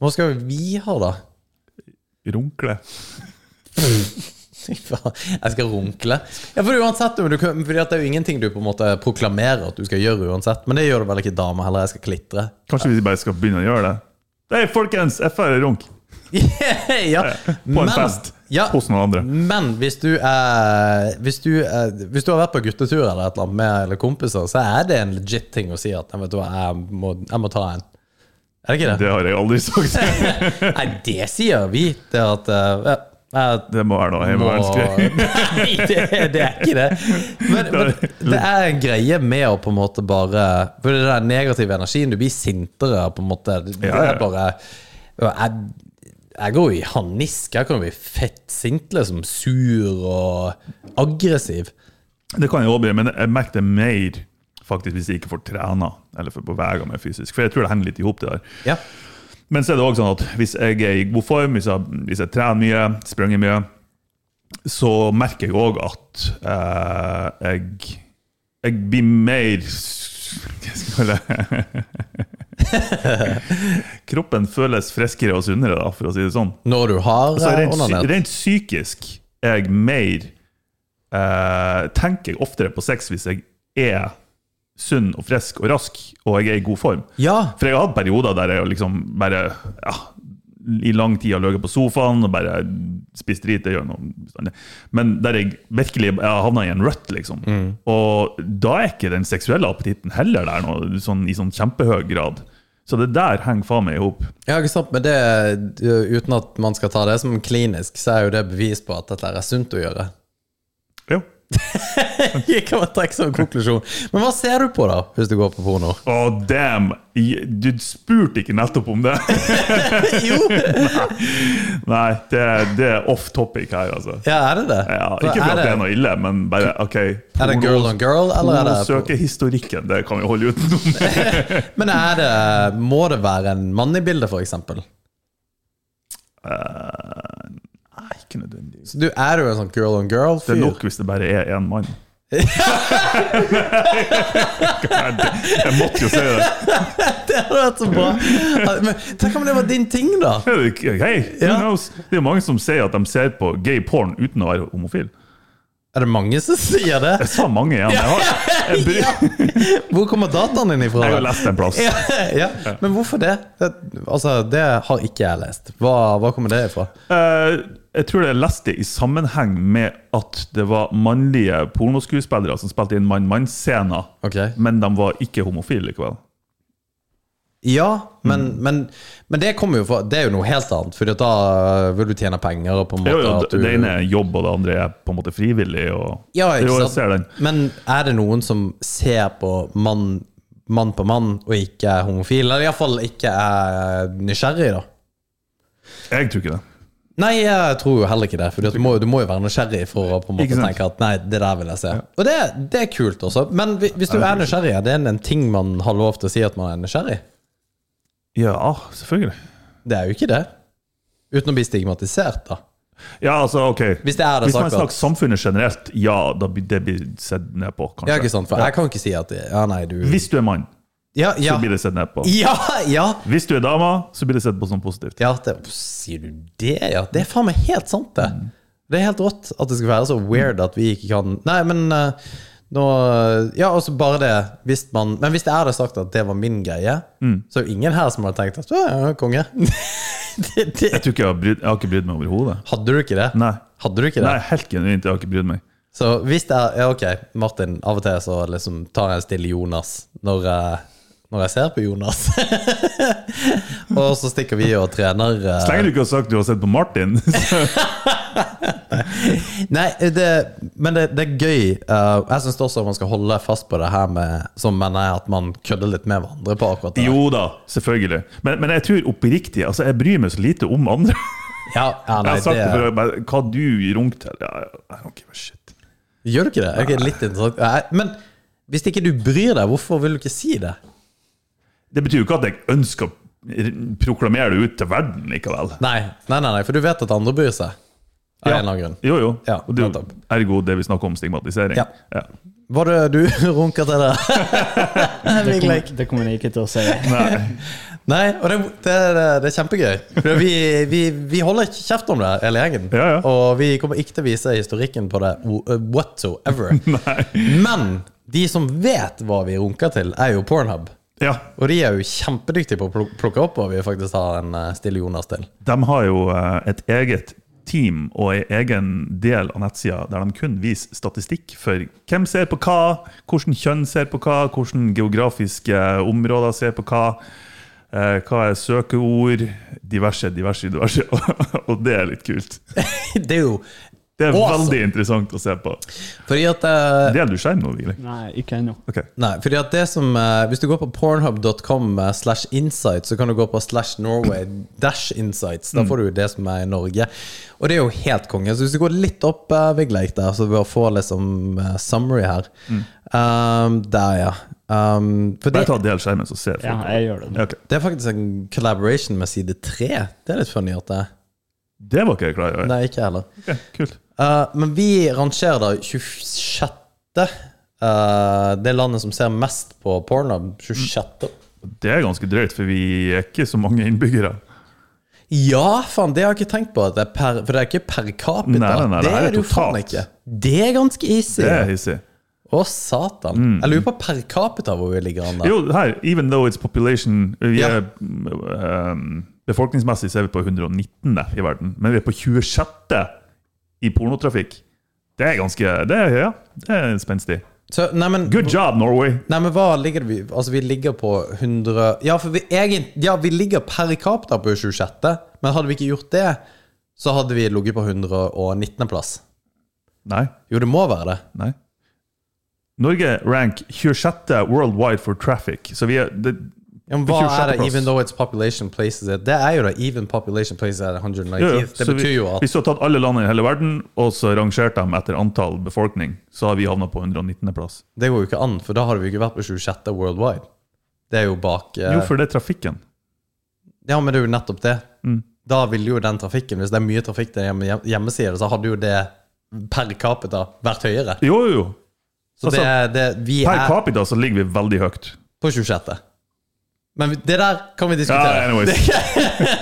S3: Hva skal vi ha, da?
S4: Runkle.
S3: Fy faen, Jeg skal runkle. Ja, for uansett, men du, kan- fordi at det er jo ingenting du på en måte proklamerer at du skal gjøre uansett. Men det gjør det vel ikke damer heller. Jeg skal klitre.
S4: Kanskje vi bare skal begynne å gjøre det? Hei, folkens! FR er runk.
S3: ja.
S4: På en fest
S3: Ja,
S4: hos noen andre.
S3: men hvis du, er, hvis, du er, hvis du har vært på guttetur eller et eller annet med eller kompiser, så er det en legit ting å si at «Nei, vet du hva, jeg må, jeg må ta en. Er det ikke det?
S4: Det har jeg aldri sagt.
S3: Nei, det sier vi. Det er at eh, ja, jeg
S4: Det må være noe heimevernsgreier.
S3: Nei, det, det er ikke det. Men, men det er en greie med å på en måte bare For det der negative energien, du blir sintere på en måte. Det
S4: Ja, ja.
S3: er bare jeg, jeg går jo i harnisk. Jeg kan jo bli fettsint, liksom. Sur og aggressiv.
S4: Det kan jeg også bli, men jeg merker det mer faktisk hvis jeg ikke får trena eller får beveget meg fysisk. For jeg tror det henger litt i hop, det der.
S3: Ja.
S4: Men så er det også sånn at hvis jeg er i god form, hvis jeg, hvis jeg trener mye, springer mye, så merker jeg òg at eh, jeg, jeg blir mer Hva skal jeg kalle det? Kroppen føles friskere og sunnere, da, for å si det sånn.
S3: Når du har
S4: Så
S3: eh,
S4: rent, psy-
S3: onanert.
S4: rent psykisk er jeg mer eh, Tenker jeg oftere på sex hvis jeg er sunn og frisk og rask, og jeg er i god form.
S3: Ja.
S4: For jeg har hatt perioder der jeg liksom bare ja, i lang tid har ligget på sofaen og bare spist drit. det gjør noe bestandig. Men der jeg virkelig jeg har havna i en rødt, liksom.
S3: Mm.
S4: Og da er ikke den seksuelle appetitten heller der nå, sånn, i sånn kjempehøy grad. Så det der henger faen meg i hop.
S3: Ja, ikke sant, men det, eh, Uten at man skal ta det som klinisk, så er jo det bevis på at dette er sunt å gjøre.
S4: Jo.
S3: Jeg kan bare trekke som konklusjon. Men hva ser du på, da, hvis du går på porno?
S4: Å, damn! Du spurte ikke nettopp om det!
S3: Jo!
S4: Nei, det, det er off topic her, altså.
S3: Ja, er det det?
S4: Ja,
S3: For
S4: ikke for at det er noe ille, men bare OK.
S3: Er det girl on girl, eller er det
S4: søker historikken, det kan vi holde utenom.
S3: Men er det, må det være en mann i bildet, for eksempel?
S4: Eh, Nei, ikke nødvendigvis.
S3: Så du er jo en sånn girl on
S4: Det er
S3: girl-fyr.
S4: nok hvis det bare er én mann. God, Jeg måtte jo si det.
S3: Det hadde vært så bra! Men tenk om det var din ting, da?
S4: Er det ikke- Hei, who
S3: Ja.
S4: knows? Det er mange som sier at de ser på gay porn uten å være homofil.
S3: Er det mange som sier det?
S4: Jeg sa mange igjen. Jeg har, jeg bry-
S3: Hvor kommer dataen din ifra?
S4: jeg har lest en plass.
S3: ja, ja. Men hvorfor det? det? Altså, det har ikke jeg lest. Hva, hva kommer det ifra?
S4: Eh, jeg tror jeg leste det i sammenheng med at det var mannlige pornoskuespillere som spilte inn mann-mann-scener,
S3: Ok.
S4: men de var ikke homofile likevel.
S3: Ja,
S4: Mm.
S3: men, men, men det kommer jo fra Det er jo noe helt annet, for da øh, vil du tjene penger. Og på en måte
S4: Jo, jo,
S3: at du,
S4: det ene er jobb, og det andre er på en måte frivillig. Og,
S3: ja, ikke
S4: jo, jeg
S3: sant?
S4: ser den.
S3: Men er det noen som ser på mann, mann på mann og ikke er homofil? Eller iallfall ikke er nysgjerrig, da?
S4: Jeg tror ikke det.
S3: Nei, jeg tror jo heller ikke det. For du må, du må jo være nysgjerrig for å på en måte
S4: Ikke sant?
S3: tenke at nei, det der vil jeg se. Og det, det er kult også. Men hvi- hvis du er nysgjerrig, er det en, en ting man har lov til å si at man er nysgjerrig?
S4: Ja, ah, selvfølgelig.
S3: Det er jo ikke det. Uten å bli stigmatisert, da.
S4: Ja, altså, ok.
S3: Hvis det er det
S4: Hvis man
S3: sagt
S4: snakker samfunnet generelt, ja, da blir det blir sett ned på, kanskje.
S3: Ja, ikke sant. For jeg kan ikke si at Ja, nei, du
S4: Hvis du er mann,
S3: Ja, ja.
S4: så blir det sett ned på.
S3: Ja, ja.
S4: Hvis du er dame, så blir det sett på som positivt.
S3: Ja, det, sier du det, ja? Det er faen meg helt sant, det.
S4: Mm.
S3: Det er helt rått at det skal være så weird at vi ikke kan Nei, men eh, nå Ja, altså bare det hvis man Men hvis det er det sagt at det var min greie,
S4: Mm.
S3: så er jo ingen her som har tenkt at «Å, ja, konge. det, det.
S4: Jeg tror ikke jeg har, brydd, jeg har ikke brydd meg overhodet.
S3: Hadde du ikke det?
S4: Nei.
S3: Hadde du ikke det?
S4: Nei, helt genuint, jeg har ikke brydd meg.
S3: Så hvis det er Ja, ok, Martin, av og til så liksom tar jeg en stille Jonas når jeg, når jeg ser på Jonas. og så stikker vi og trener. eh,
S4: Så lenge du ikke har sagt du har sett på Martin.
S3: Nei, det, men det, det er gøy. Uh, jeg syns også at man skal holde fast på det her med som mener jeg at man kødder litt med hverandre på akkurat det.
S4: jo da, selvfølgelig. Men, men jeg tror oppriktig altså Jeg bryr meg så lite om andre.
S3: Ja, ja,
S4: jeg
S3: nei,
S4: har sagt det
S3: det,
S4: før, men hva du runker til ja, ja, I don't give a shit.
S3: gjør du ikke det? Ok, litt interessant. Nei, Men hvis ikke du bryr deg, hvorfor vil du ikke si det?
S4: Det betyr jo ikke at jeg ønsker å proklamere det ut til verden likevel.
S3: Nei, nei, nei, nei for du vet at andre bryr seg. Av en eller annen grunn.
S4: Jo, jo.
S3: Ja,
S4: og det er jo
S3: nettopp.
S4: ergo det vi snakker om stigmatisering.
S3: Ja. Var det du runka til det?
S5: Det kommer, det kommer jeg ikke til å si.
S3: Nei, og det, det, er- det er kjempegøy. For vi, vi, vi holder ikke kjeft om det, hele gjengen.
S4: Ja, ja.
S3: Og vi kommer ikke til å vise historikken på det whatsoever.
S4: Nei.
S3: Men de som vet hva vi runker til, er jo Pornhub.
S4: Ja,
S3: Og de er jo kjempedyktige på å pluk- plukke opp hva vi faktisk har en eh, stille Jonas til.
S4: de har jo eh, et eget team og en egen del av nettsida der de kun viser statistikk for hvem ser på hva, hvordan kjønn ser på hva, hvordan geografiske eh, områder ser på hva, eh, hva er søkeord, diverse, diverse, diverse. og det er litt kult.
S3: Det er jo
S4: Det er
S3: Awesome.
S4: veldig interessant å se på.
S3: fordi at eh,
S4: Deler du skjerm nå, Vigli?
S5: Nei, ikke ennå.
S4: Ok.
S3: Nei, fordi at det som eh, Hvis du går på pornhub.com eh, slash insight, så kan du gå på slash Norway dash insights.
S4: Mm.
S3: Da får du jo det som er i Norge. Og det er jo helt konge. Så hvis du går litt opp uh, Vigleik der, så vi får liksom eh, summary her. Um, der, ja. Um, for
S4: Mm. Bare
S3: det,
S4: ta del skjermen, så ser folk.
S5: Ja, jeg gjør det. nå.
S4: Ja, ok.
S3: det er faktisk en collaboration med side tre. Det er litt funny at det
S4: Det var ikke jeg klar over.
S3: Nei, ikke jeg heller.
S4: Ok, kult.
S3: Eh, men vi rangerer da 26. eh, det landet som ser mest på pornhub.
S4: Mm.
S3: 26.
S4: Det er ganske drøyt, for vi er ikke så mange innbyggere.
S3: Ja, faen, det har jeg ikke tenkt på. At det er per, for det er ikke per capita.
S4: Nei, nei, nei, det
S3: det
S4: her er
S3: er det jo faen
S4: totalt.
S3: ikke. Det er ganske easy.
S4: Det er Mm. hissig.
S3: Å, satan. Jeg lurer på per capita hvor vi ligger an der.
S4: Jo, her, even though it's population Vi
S3: Ja.
S4: er um, Befolkningsmessig så er vi på 119. i verden, men vi er på 26. i pornotrafikk. Det er ganske Det er, ja, det er spenstig.
S3: Så, nei, men,
S4: Good job, Norway!
S3: nei, men hva ligger vi Altså, vi ligger på 100 Ja, for vi, egen, ja, vi ligger per capita på 26., men hadde vi ikke gjort det, så hadde vi ligget på 119.-plass.
S4: Nei.
S3: Jo, det må være det.
S4: Nei. Norge rank 26. worldwide for traffic. Så vi er det,
S3: Ja, men hva er det,
S4: 26.
S3: even though it's population places it? Det er jo det. Even population places at 119.
S4: Ja, ja,
S3: Det
S4: så
S3: betyr
S4: vi,
S3: jo at
S4: Hvis du har tatt alle landene i hele verden og så rangert dem etter antall befolkning, så har vi havna på 119. plass.
S3: Det går jo ikke an, for da hadde vi jo ikke vært på 26. worldwide. Det er jo bak eh,
S4: Jo, for det er trafikken.
S3: Ja, men det er jo nettopp det.
S4: Mm.
S3: Da ville jo den trafikken, hvis det er mye trafikk til hjemme, hjemmesider, så hadde jo det per capita vært høyere.
S4: Jo, jo, jo.
S3: Så det, er- det, vi
S4: Altså, Per
S3: er
S4: capita så ligger vi veldig høyt.
S3: på 26. Men vi- det der kan vi
S4: Ja,
S3: diskutere.
S4: anyways.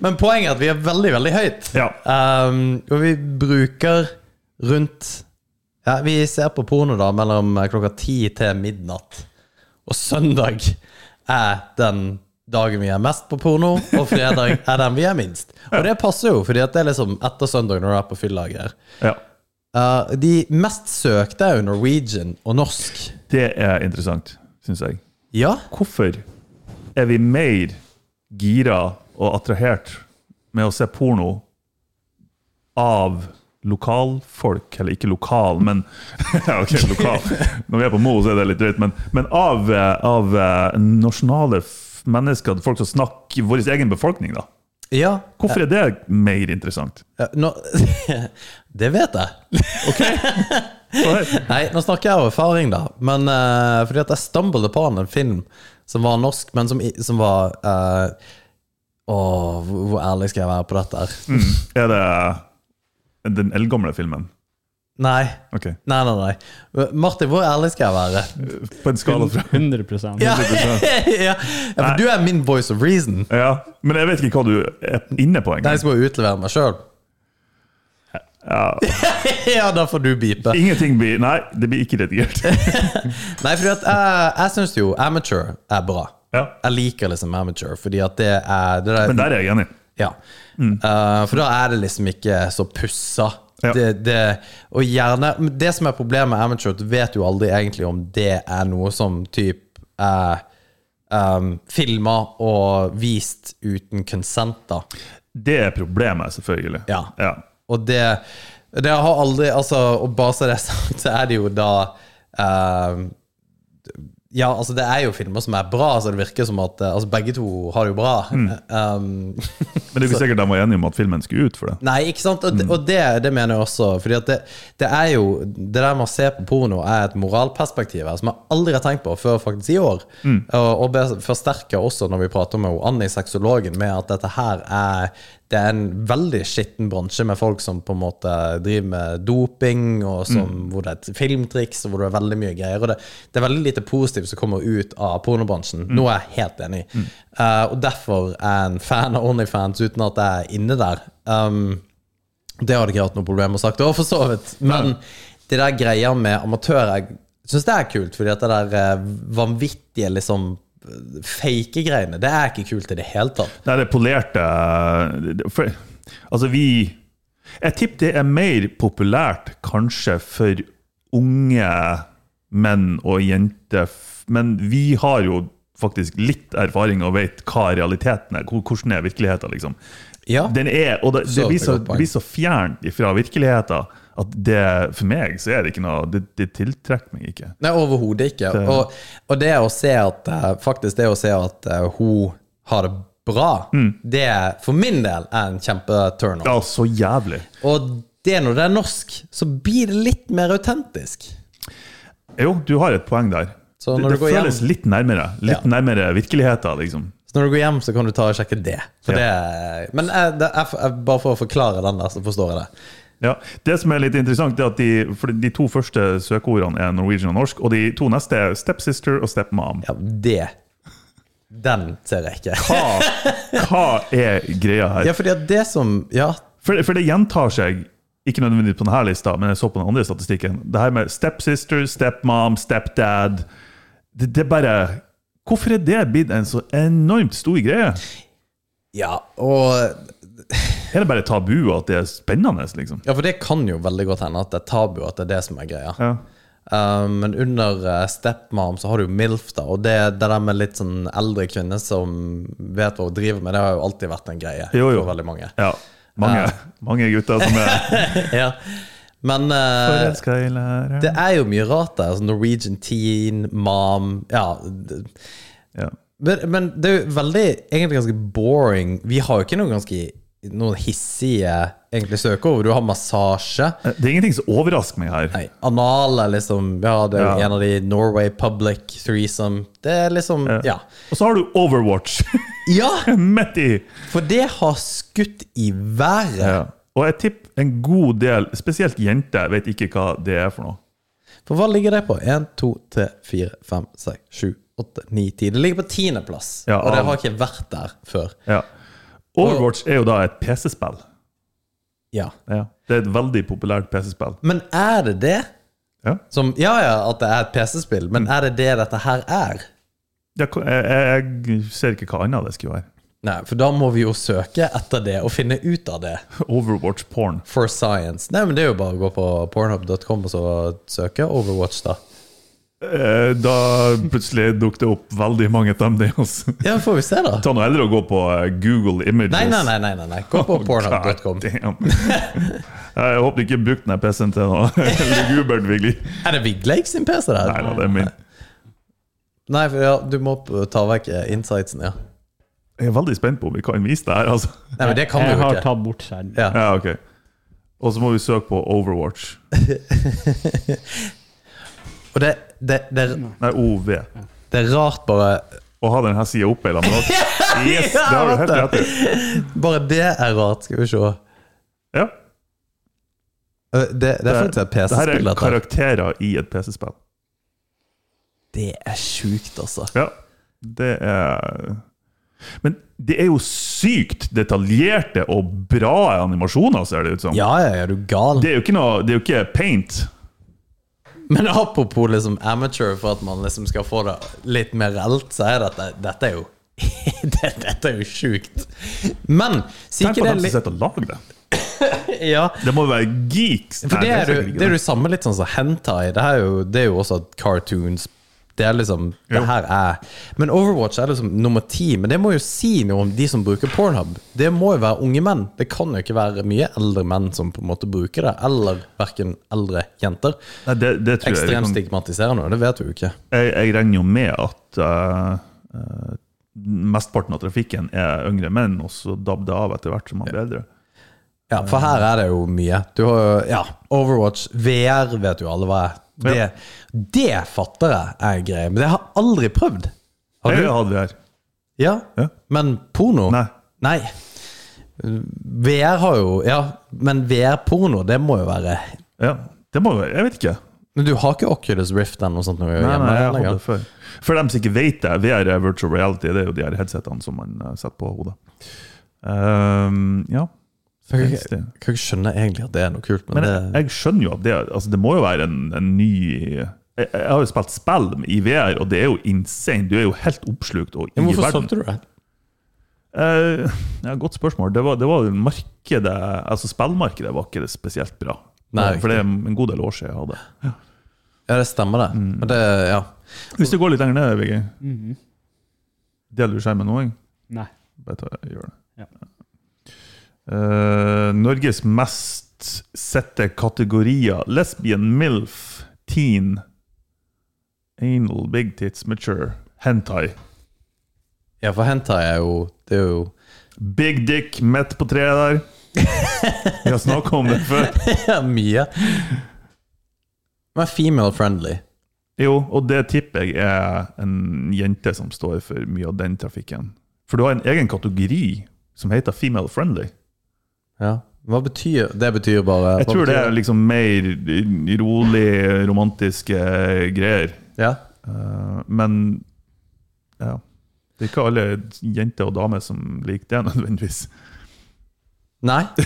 S3: men poenget er at vi er veldig, veldig høyt.
S4: Ja.
S3: Um, og vi bruker rundt ja, Vi ser på porno da mellom eh, klokka ti til midnatt. Og søndag er den dagen vi er mest på porno, og fredag er den vi er minst. Og det passer jo, fordi at det er liksom etter søndag når du er på fyllager.
S4: ja.
S3: Uh, de mest søkte er jo Norwegian og norsk.
S4: Det er interessant, syns jeg.
S3: Ja,
S4: Hvorfor er vi mer gira og attrahert med å se porno av lokalfolk, eller ikke lokal, men Ja, ok, lokal. Når vi er på Mo, så er det litt drøyt, men, men av, eh, av eh, nasjonale f- mennesker, folk som snakker vår egen befolkning, da.
S3: ja.
S4: Hvorfor er det mer interessant?
S3: ja, Nå, det vet jeg.
S4: Så her-
S3: Nei, nå snakker jeg av erfaring, da. Men eh, fordi at jeg stumbled upon en film som var norsk, men som, i- som var eh, Åh, hvor, hvor ærlig skal jeg være på dette her?
S4: Mm, er det den eldgamle filmen?
S3: Nei.
S4: Ok.
S3: Nei, nei, nei. Martin, hvor ærlig skal jeg være?
S4: På en skala fra
S5: 100
S3: Ja, ja. For du er min voice of reason.
S4: Ja, men jeg vet ikke hva du er inne på
S3: Nei, jeg
S4: engang.
S3: skal jo utlevere meg sjøl. ja, da får du beepe.
S4: Ingenting blir Nei, det blir ikke redigert.
S3: Nei, fordi at jeg, jeg syns jo amateur er bra.
S4: Ja.
S3: Jeg liker liksom amateur, fordi at det er det der,
S4: Men der er jeg enig.
S3: Ja. Eh, for da er det liksom ikke så pussa.
S4: Ja.
S3: Det, det, og gjerne, men det som er problemet med amateur, du vet jo aldri egentlig om det er noe som typ er um, filma og vist uten consent, da.
S4: Det er problemet, selvfølgelig.
S3: Ja. Og det, det har aldri Altså, og bare så det er sagt, så er det jo da um, ja, altså det er jo filmer som er bra, så det virker som at eh, altså begge to har det jo bra. Um,
S4: Men det er jo ikke sikkert de var enige om at filmen skulle ut for det.
S3: Nei, ikke sant? Og, det- og det, det mener jeg også. Fordi at det, det er jo Det der med å se på porno er et moralperspektiv her som jeg aldri har tenkt på før faktisk i år. Og, og ble forsterka også når vi prater med hun Anni, sexologen, med at dette her er Det er en veldig skitten bransje med folk som på en måte driver med doping, og som, hvor det er et filmtriks, og hvor det er veldig mye greier. Og det, det er veldig lite positivt som kommer ut av pornobransjen. Noe jeg er helt enig i. Eh, og derfor er jeg en fan av Onlyfans uten at jeg er inne der. Um, det hadde ikke jeg hatt noe problem med å sagt. Det var for så vidt. Men det der greia med amatører, jeg syns det er kult. Fordi at det der eh, vanvittige, liksom fake greiene, det er ikke kult i det hele tatt.
S4: Nei, det polerte eh, for, Altså, vi Jeg tipper det er mer populært kanskje for unge menn og jenter, f- men vi har jo faktisk litt erfaring og vet hva realiteten er. hvor- Hvordan er virkeligheten, liksom.
S3: Ja.
S4: Den er, og det,
S3: Så
S4: det, blir så,
S3: godt poeng.
S4: det blir så fjernt fra virkeligheten at det, for meg så er det ikke noe Det, det tiltrekker meg ikke.
S3: Nei, overhodet ikke. Og, og det å se at eh, Faktisk det å se at eh, hun har det bra, det er for min del er en kjempeturn-off.
S4: Mm. Ja, så jævlig.
S3: Og det når det er norsk, så blir det litt mer autentisk.
S4: Jo, du har et poeng der.
S3: Så
S4: det
S3: når
S4: det
S3: du går hjem-
S4: føles litt nærmere. Litt
S3: Ja.
S4: nærmere virkeligheten, liksom.
S3: Så når du går hjem, så kan du ta og sjekke det. For
S4: Ja.
S3: det er- men eh, det er, jeg- bare for å forklare den der, så forstår jeg det.
S4: Ja, Det som er litt interessant, det er at de, for de to første søkeordene er Norwegian og norsk, og de to neste er stepsister og stepmom.
S3: Ja, det Den ser jeg ikke.
S4: Hva, hva er greia her?
S3: Ja, fordi at det som Ja,
S4: For, for det gjentar seg, ikke nødvendigvis på denne lista, men jeg så på den andre statistikken. Det her med stepsister, stepmom, stepdad det, det er bare Hvorfor er det blitt en så enormt stor greie?
S3: Ja, og
S4: Er det bare tabu at det er spennende, liksom?
S3: Ja, for det kan jo veldig godt hende at det er tabu, at det er det som er greia.
S4: Ja.
S3: Eh, men under eh, stepmom så har du jo MILF, da, og det, det der med litt sånn eldre kvinner som vet hva hun driver med, det har jo alltid vært en greie
S4: Jo, jo.
S3: for veldig mange.
S4: ja. Mange,
S3: Ja.
S4: mange gutter som er
S3: Ja. Men eh,
S4: forelska i læreren.
S3: det er jo mye rart der. Altså Norwegian teen, mom Ja. d-
S4: Ja.
S3: Men, men det er jo veldig egentlig ganske boring. Vi har jo ikke noen ganske noen hissige egentlig søkeord. Du har massasje.
S4: Det er ingenting som overrasker meg her.
S3: Nei, anal er liksom Ja, det er jo
S4: Ja.
S3: en av de Norway Public Threesome. Det er liksom Ja.
S4: Og så har du Overwatch
S3: Ja!
S4: midt i!
S3: For det har skutt i været.
S4: Og jeg tipper en god del, spesielt jenter, vet ikke hva det er for noe.
S3: For hva ligger det på? 1, 2, 3, 4, 5, 6, 7, 8, 9, 10. Det ligger på tiendeplass,
S4: Ja,
S3: og det
S4: av-
S3: har ikke vært der før.
S4: Ja. Overwatch er jo da et PC-spill.
S3: Ja.
S4: Ja. Det er et veldig populært PC-spill.
S3: Men er det det?
S4: Ja. Mm.
S3: Som, ja ja, at det er et PC-spill, men er det det dette her er?
S4: Ja, hva- Jeg, jeg, jeg ser ikke hva annet det skulle være.
S3: Nei, for da må vi jo søke etter det og finne ut av det.
S4: Overwatch-porn.
S3: For science. Nei, men det er jo bare å gå på pornhub.com og så søke Overwatch, da.
S4: Eh, Da plutselig dukket det opp veldig mange thumbnails.
S3: Ja, får vi se, da.
S4: Ta nå heller og gå på eh, Google Images.
S3: Nei, nei, nei. nei, nei, nei. Gå på
S4: Oh,
S3: pornhub.com.
S4: God damn. Jeg håper du ikke brukte den PC-en til noe lugubert, Vigli.
S3: Er det Vigleik sin PC der?
S4: Nei da, det er min.
S3: Nei, for ja, du må opp- ta vekk eh, insightsen, ja.
S4: Jeg er veldig spent på om vi kan vise det her, altså.
S3: Nei, men det kan du
S5: jeg
S3: jo
S5: har
S3: ikke.
S5: tatt bort skjerm.
S3: Ja.
S4: Ja, ok. Og så må vi søke på Overwatch.
S3: Og det, det, det,
S4: Nei, OV.
S3: det er rart bare
S4: Å ha denne sida oppe i lag med noe. Yes, det har du helt rett i.
S3: Bare det er rart. Skal vi se.
S4: Ja.
S3: Eh, Det, det er faktisk et
S4: Det her
S3: PC-spill,
S4: er
S3: dette. her.
S4: karakterer i et PC-spill.
S3: Det er sjukt, altså.
S4: Ja, det er Men det er jo sykt detaljerte og bra animasjoner, ser det ut som.
S3: Ja, ja, ja, du er gal.
S4: Det er jo ikke noe Det er jo ikke paint.
S3: Men apropos liksom amateur, for at man liksom skal få det litt mer reelt, så er dette Dette er jo det, Dette er jo sjukt. Men sier
S4: Tenk
S3: ikke
S4: på
S3: det
S4: dem som
S3: litt
S4: sitter og lager det.
S3: Ja.
S4: Det må jo være geeks.
S3: For det
S4: Nei,
S3: er,
S4: sikkert
S3: jo,
S4: ikke
S3: det er jo samme litt sånn som hentai. Det er jo, det er jo også cartoons. Det er liksom Det
S4: Jo.
S3: her er Men Overwatch er liksom nummer ti. Men det må jo si noe om de som bruker pornhub. Det må jo være unge menn. Det kan jo ikke være mye eldre menn som på en måte bruker det. Eller hverken eldre jenter.
S4: Nei, det, det tror jeg, vi
S3: Ekstremt
S4: kan-
S3: stigmatiserende, og det vet vi jo ikke.
S4: jeg, jeg regner jo med at eh, eh, mesteparten av trafikken er yngre menn, og så dabber det av etter hvert som man blir eldre.
S3: Ja, for her er det jo mye. Du har jo, ja, Overwatch, VR vet jo alle hva er. Det,
S4: Ja.
S3: det fatter jeg er en greie, men det har jeg aldri prøvd. Har
S4: Det
S3: du?
S4: hadde vi her.
S3: Ja.
S4: Ja.
S3: Men porno?
S4: Nei.
S3: Nei. VR har jo Ja, men VR-porno, det må jo være
S4: Ja, det må jo være Jeg vet ikke.
S3: Men du har ikke Oculus Rift eller noe sånt? Når vi er
S4: Nei,
S3: hjemme
S4: nei, jeg hadde
S3: lenger.
S4: det før. For dem som ikke vet det, VR er virtual reality. Det er jo de her headsetene som man eh, setter på hodet. Ehm, ja.
S3: Så Jeg kan ikke- kan ikke skjønne egentlig at det er noe kult, men,
S4: Men jeg,
S3: det
S4: jeg skjønner jo at det altså Det må jo være en, en ny jeg, jeg har jo spilt spill i VR, og det er jo insane. Du er jo helt oppslukt og i
S3: Men Hvorfor
S4: verden.
S3: solgte du det?
S4: Eh, ja, godt spørsmål. Det var, det var markedet, altså Spillmarkedet var ikke det spesielt bra.
S3: Nei,
S4: For det er en god del år siden jeg hadde.
S3: Ja, det stemmer, det.
S4: Mm.
S3: Men det ja.
S4: Hvis du går litt lenger ned, VG Deler du skjermen nå? jeg?
S5: Nei.
S4: Bare ta, gjør det.
S5: Ja.
S4: Eh, Norges mest sette kategorier. Lesbian, MILF, teen, anal, big tits, mature, hentai.
S3: ja, for hentai er jo Det er jo
S4: Big dick midt på treet der. Vi har snakka om det før.
S3: Ja, mye. Men female friendly.
S4: Jo, og det tipper jeg er en jente som står for mye av den trafikken. For du har en egen kategori som heter female friendly.
S3: Ja. Hva betyr Det betyr bare
S4: Jeg
S3: hva
S4: tror det
S3: betyr
S4: er liksom mer rolig, romantiske greier.
S3: Ja.
S4: Eh, Men ja. Det er ikke alle jenter og damer som liker det nødvendigvis.
S3: Nei.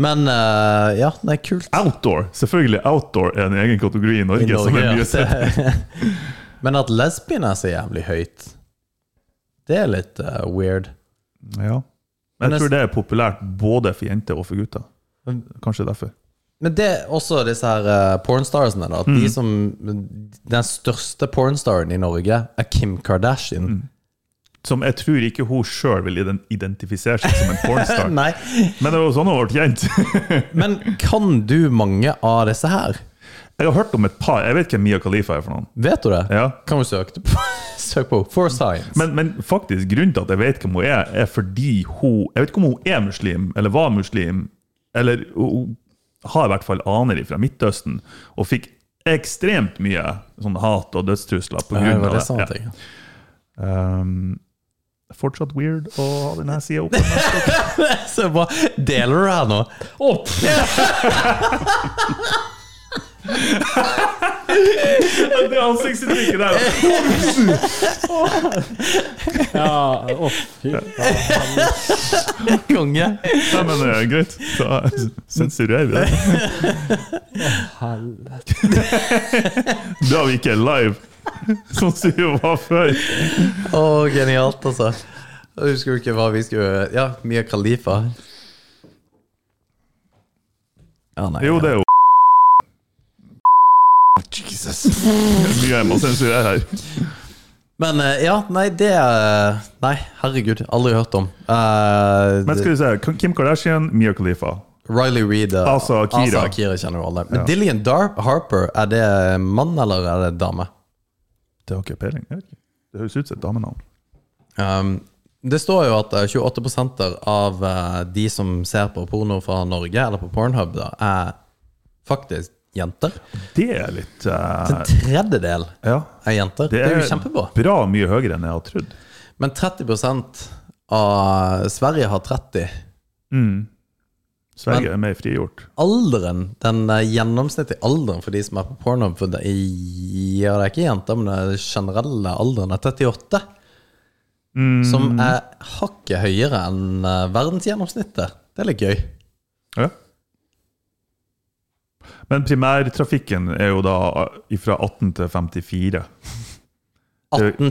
S3: Men eh, ja, nei, kult.
S4: Outdoor! Selvfølgelig outdoor er en egen kategori i Norge.
S3: I Norge,
S4: som er mye
S3: ja.
S4: sett.
S3: Men at lesbien er så jævlig høyt, det er litt eh, weird.
S4: Ja. Men jeg tror det er populært både for jenter og for gutter. Kanskje derfor.
S3: Men det er også disse her eh, pornstarsene, da. At de
S4: Mm.
S3: som, den største pornstaren i Norge er Kim Kardashian.
S4: Mm, Som jeg tror ikke hun sjøl vil ident- identifisere seg som en pornstar.
S3: Nei,
S4: Men det var jo sånn hun ble kjent.
S3: men kan du mange av disse her?
S4: Jeg har hørt om et par. Jeg vet hvem Mia Khalifa er for noen.
S3: Vet du det?
S4: Ja.
S3: Kan du søke det på? Søk på For Science.
S4: Men, men faktisk, grunnen til at jeg vet hvem hun er, er fordi hun Jeg vet ikke om hun er muslim, eller var muslim, eller hun hun har i hvert fall aner fra Midtøsten, og fikk ekstremt mye sånn hat og dødstrusler på
S3: Ja, det
S4: grunn
S3: var
S4: av
S3: det
S4: det.
S3: samme
S4: Ja.
S3: ting.
S4: Um, fortsatt weird å ha denne sida oppe.
S3: Så bra. Deler du her nå?
S5: Opp!
S4: det ansiktsuttrykket der!
S5: Ja, opp. Fy faen.
S3: Konge.
S4: Nei, men eh, greit, da sensurerer vi det.
S5: Helvete.
S4: Da vi ikke er live, sånn som vi var før.
S3: Å, genialt, altså. Jeg husker jo ikke hva vi skulle Ja, Mia Khalifa. Ja, nei.
S4: Jo, det er jo Jesus! Mye jeg må sensurere her.
S3: Men eh, ja, nei, det eh, Nei, herregud. Aldri hørt om. Eh,
S4: Men skal vi se, Kim Kardashian, Mia Khalifa.
S3: Riley Reed eh,
S4: Asa Akira.
S3: Asa Akira kjenner jo alle. Men Dillian Dar Harper, er det mann eller er det dame?
S4: Det har ikke jeg peiling. jeg vet ikke. Det høres ut som et damenavn.
S3: Um, det står jo at eh, 28 av eh, de som ser på porno fra Norge, eller på Pornhub, da, er faktisk jenter.
S4: Det er litt eh,
S3: En tredjedel
S4: Ja.
S3: er jenter. Det er, jo kjempebra.
S4: bra mye høyere enn jeg hadde trodd.
S3: Men 30 av Sverige har 30.
S4: Sverige er mer frigjort.
S3: Alderen, den eh, gjennomsnittlige alderen for de som er på Pornhub for det, er- Ja, det er ikke jenter, men den generelle alderen er 38. Som er hakket høyere enn eh, verdensgjennomsnittet. Det er litt gøy.
S4: Ja. Men primærtrafikken er jo da fra 18 til 54.
S3: 18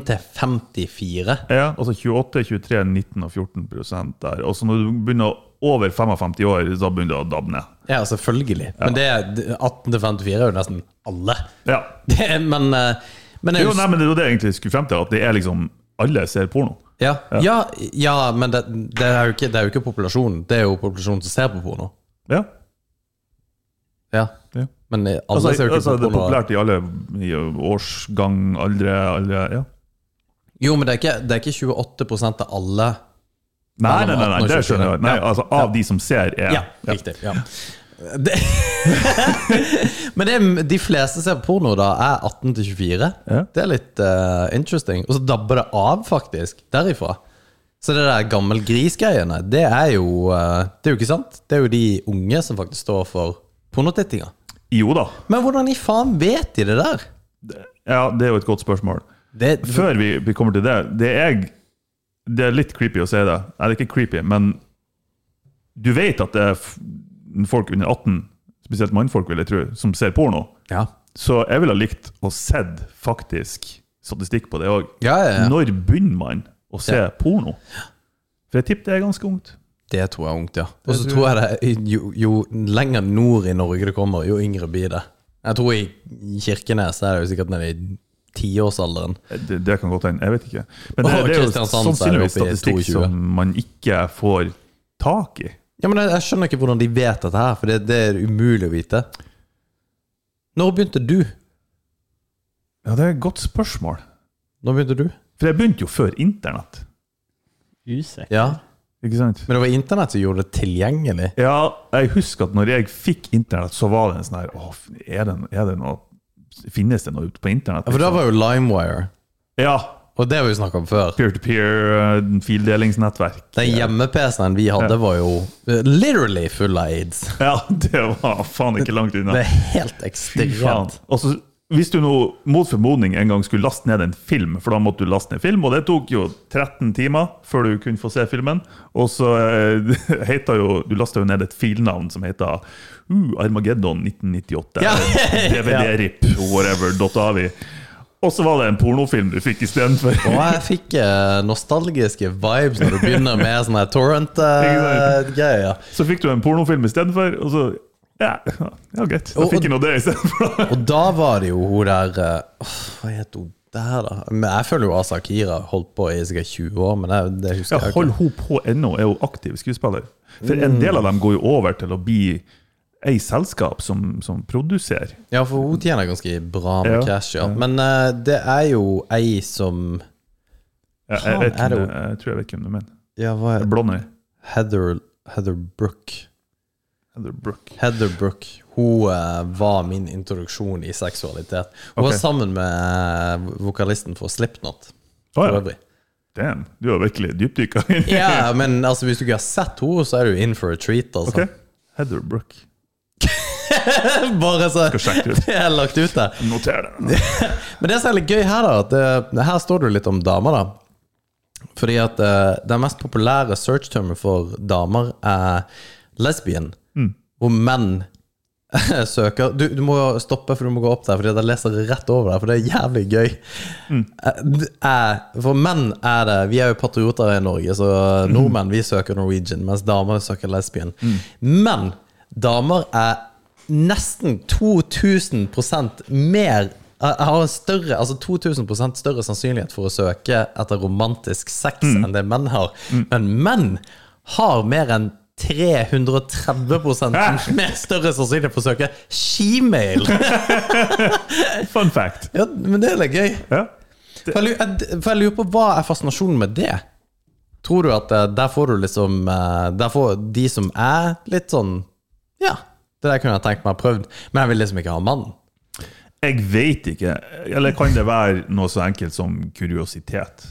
S3: til 54.
S4: Ja, altså 28, 23, 19 og 14 prosent der. Og så når du begynner å- over 55 år, da begynner det å dabbe ned.
S3: Ja, selvfølgelig. Men det er 18 til 54 er jo nesten alle.
S4: Ja.
S3: Det er, men, eh, men jeg
S4: Jo,
S3: hus-
S4: nei, men det er jo det jeg egentlig skulle frem til, at det er liksom alle ser porno.
S3: ja, ja, ja, men det, det, er jo ikke, det er jo ikke populasjonen. Det er jo populasjonen som ser på porno.
S4: Ja.
S3: Ja.
S4: Ja.
S3: Men alle
S4: Altså,
S3: ser jo ikke
S4: altså, det
S3: på
S4: er
S3: porno.
S4: populært i alle i årsgang, aldre, alle ja.
S3: Jo, men det er ikke, det er ikke 28 av alle.
S4: Nei,
S3: Nei,
S4: nei, nei, nei,
S3: nei,
S4: det skjønner jeg. Nei,
S3: Ja.
S4: altså, av de som ser, er
S3: Ja, riktig. Ja. Det, men det, de fleste ser på porno da er 18 til 24.
S4: Ja.
S3: Det er litt eh, interesting. Og så dabber det av, faktisk, derifra. Så det der gammel gris-greiene, det er jo eh, Det er jo ikke sant. Det er jo de unge som faktisk står for pornotittinga.
S4: Jo da.
S3: Men hvordan i faen vet de det der?
S4: Ja, det er jo et godt spørsmål.
S3: Det,
S4: Før vi, vi kommer til det, det er, jeg- det er litt creepy å si det. Nei, det er ikke creepy, men du vet at det er f- folk under 18, spesielt mannfolk, vil jeg tro, som ser porno.
S3: ja.
S4: Så jeg ville ha likt å sett faktisk statistikk på det òg.
S3: Ja, ja, ja.
S4: Når begynner man å se
S3: Ja.
S4: porno? For jeg tipper det er ganske ungt.
S3: Det tror jeg er ungt, ja. Og så tror jeg det er- jo, jo lenger nord i Norge det kommer, jo yngre blir det. Jeg tror i Kirkenes er det jo sikkert nede i tiårsalderen.
S4: Eh, Det, det kan godt hende. Jeg vet ikke.
S3: Og
S4: Men det, det er jo
S3: Kristiansand, så er det
S4: sannsynligvis
S3: oppe i
S4: statistikk
S3: 22.
S4: som man ikke får tak i.
S3: Ja, men jeg, jeg skjønner ikke hvordan de vet dette her, for det, det er umulig å vite. Når begynte du?
S4: Ja, det er et godt spørsmål.
S3: Når begynte du?
S4: For jeg begynte jo før internett.
S5: Usikker.
S3: Ja,
S4: Ikke sant?
S3: men det var internett som gjorde det tilgjengelig.
S4: Ja, jeg husker at når jeg fikk internett, så var det en sånn her Åh, er det, er det noe Finnes det noe ute på internett?
S3: Ja, for da
S4: liksom?
S3: var jo LimeWire,
S4: Ja.
S3: og det har vi snakka om før.
S4: Peer-to-peer, eh, fildelingsnettverk.
S3: Den hjemme-PC-en vi hadde, var jo eh, literally full av aids.
S4: Ja, det var faen ikke langt
S3: Det
S4: unna.
S3: er helt
S4: Fy faen.
S3: ekstremt.
S4: Og så, hvis du nå mot formodning en gang skulle laste ned en film, for da måtte du laste ned film, og det tok jo 13 timer før du kunne få se filmen, og så eh, heter jo Du lasta jo ned et filnavn som heter uh, Armageddon 1998.
S3: Ja.
S4: DVD-rip, whatever, dot avi. Og så var det en pornofilm du fikk istedenfor.
S3: Og jeg fikk eh, nostalgiske vibes når du begynner med sånne
S4: Ikke
S3: torrent-greier.
S4: Så fikk du en pornofilm istedenfor, og så Ja, ja greit. Da
S3: Og-
S4: fikk jeg nå det istedenfor.
S3: Og da var det jo hun der eh, åh, Hva het hun der, da? Men jeg føler jo Asa Akira holdt på i sikkert 20 år, men det, det
S4: Ja,
S3: husker jeg
S4: hold
S3: ikke.
S4: hun på ennå, er hun aktiv skuespiller? For en del av dem går jo over til å bli ei selskap som, som produserer.
S3: Ja, for hun tjener ganske bra med
S4: Ja,
S3: cash, ja. Men eh, det er jo ei som
S4: Jeg, jeg, vet
S3: Faen, er
S4: hvem
S3: det
S4: det- jeg tror jeg vet hvem du mener.
S3: Ja, hva er
S4: Blondie.
S3: Heather, Heather Brook.
S4: Heather Brooke.
S3: Heather Brook hun eh, var min introduksjon i seksualitet. Hun
S4: Ok.
S3: var sammen med eh, vokalisten for Slipknot.
S4: Å
S3: For
S4: ja.
S3: øvrig.
S4: Damn, du har virkelig dypdykka inn.
S3: Ja, men altså, hvis du ikke har sett henne, så er du in for a treat. Altså.
S4: Ok, Heather Brooke.
S3: Bare så
S4: Skal sjekke det ut.
S3: det er lagt ut der.
S4: Noter det.
S3: Men det som er litt gøy her, da, at det, her står det jo litt om damer, da. Fordi at eh, den mest populære search-termen for damer er lesbian.
S4: Mm.
S3: Hvor menn søker du, du må stoppe, for du må gå opp der, fordi at jeg leser rett over der, for det er jævlig gøy. Eh, det er- for menn er det Vi er jo patrioter i Norge, så nordmenn vi søker Norwegian, mens damer søker lesbian. Men damer er nesten 2000 mer eh, har en større, altså 2000 større sannsynlighet for å søke etter romantisk sex enn det menn har. Men menn har mer enn 330 mer større sannsynlighet for å søke shemail!
S4: Fun fact.
S3: Ja, men det er litt gøy.
S4: Ja.
S3: For jeg, lurer, for jeg lurer på hva er fascinasjonen med det? Tror du at eh, der får du liksom eh, Der får de som er litt sånn Ja, det der kunne jeg tenkt meg å prøvd, men jeg vil liksom ikke ha mannen.
S4: Jeg veit ikke. Eller kan det være noe så enkelt som kuriositet?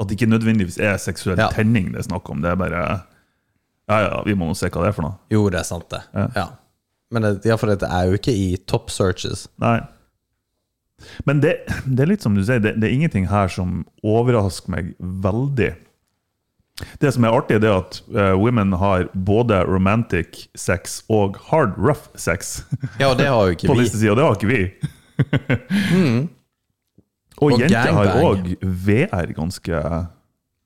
S4: At det ikke nødvendigvis er seksuell
S3: Ja.
S4: tenning det er snakk om. Det er bare Ja, ja, vi må nå se hva det er for noe.
S3: Jo, det er sant, det.
S4: Ja.
S3: Ja. Men det, ja, for det er jo ikke i top searches.
S4: Nei. Men det, det er litt som du sier, det, det er ingenting her som overrasker meg veldig. Det som er artig, det er at eh, women har både romantic sex og hard rough sex
S3: Ja, og det har jo ikke
S4: på
S3: vi. Hmm.
S4: listesida. og Det har ikke vi.
S3: Og
S4: Og, jenter har òg
S3: gangbang.
S4: VR ganske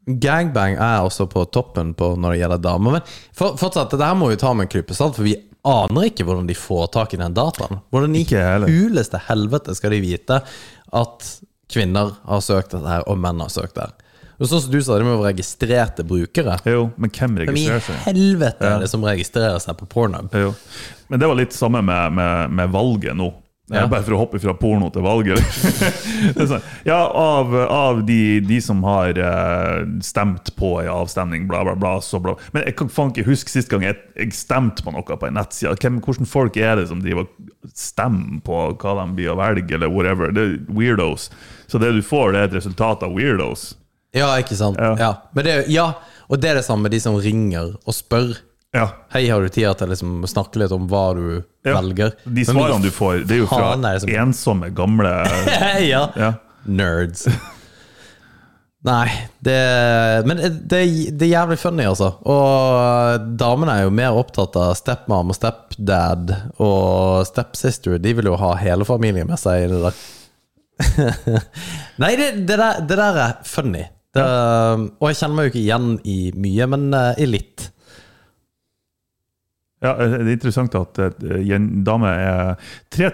S3: Gangbang er også på toppen på når det gjelder damer. Men for, fortsatt, det her må vi ta med en klype salt, for vi aner ikke hvordan de får tak i den dataen. Hvordan i
S4: Ikke jeg heller.
S3: huleste helvete skal de vite at kvinner har søkt dette her, og menn har søkt det her. Og Sånn som du sa, det med å være registrerte brukere.
S4: Jo, men hvem
S3: Hvem i
S4: registrerer seg?
S3: helvete er det som registrerer seg på pornhub?
S4: Jo. Men det var litt samme med, med, med valget nå. Det er
S3: Ja.
S4: Bare for å hoppe fra porno til valget. det er sånn, ja, av, av de, de som har eh, stemt på en avstemning, bla, bla, bla, så bla. Men jeg kan faen ikke huske sist gang jeg, jeg stemte på noe på en nettside. Hvem, hvordan folk er det som driver og stemmer på hva de blir å velge, eller whatever? Det er weirdos. Så det du får, det er et resultat av weirdos.
S3: Ja, ikke sant? Ja.
S4: Ja.
S3: Men det, er- ja, og det er det samme med de som ringer og spør.
S4: Ja.
S3: Hei, har du tid til å liksom snakke litt om hva du
S4: Ja.
S3: velger?
S4: De svarene du får, det er jo fra
S3: faen er det som-
S4: ensomme, gamle
S3: ja.
S4: ja.
S3: Nerds. Nei, det Men det, det er jævlig funny, altså. Og damene er jo mer opptatt av stepmom og stepdad og stepsister. De vil jo ha hele familien med seg i det der. Nei, det, det, der, det der er funny. Det, og jeg kjenner meg jo ikke igjen i mye, men eh, i litt.
S4: Ja, Det er interessant at eh, jen- damer er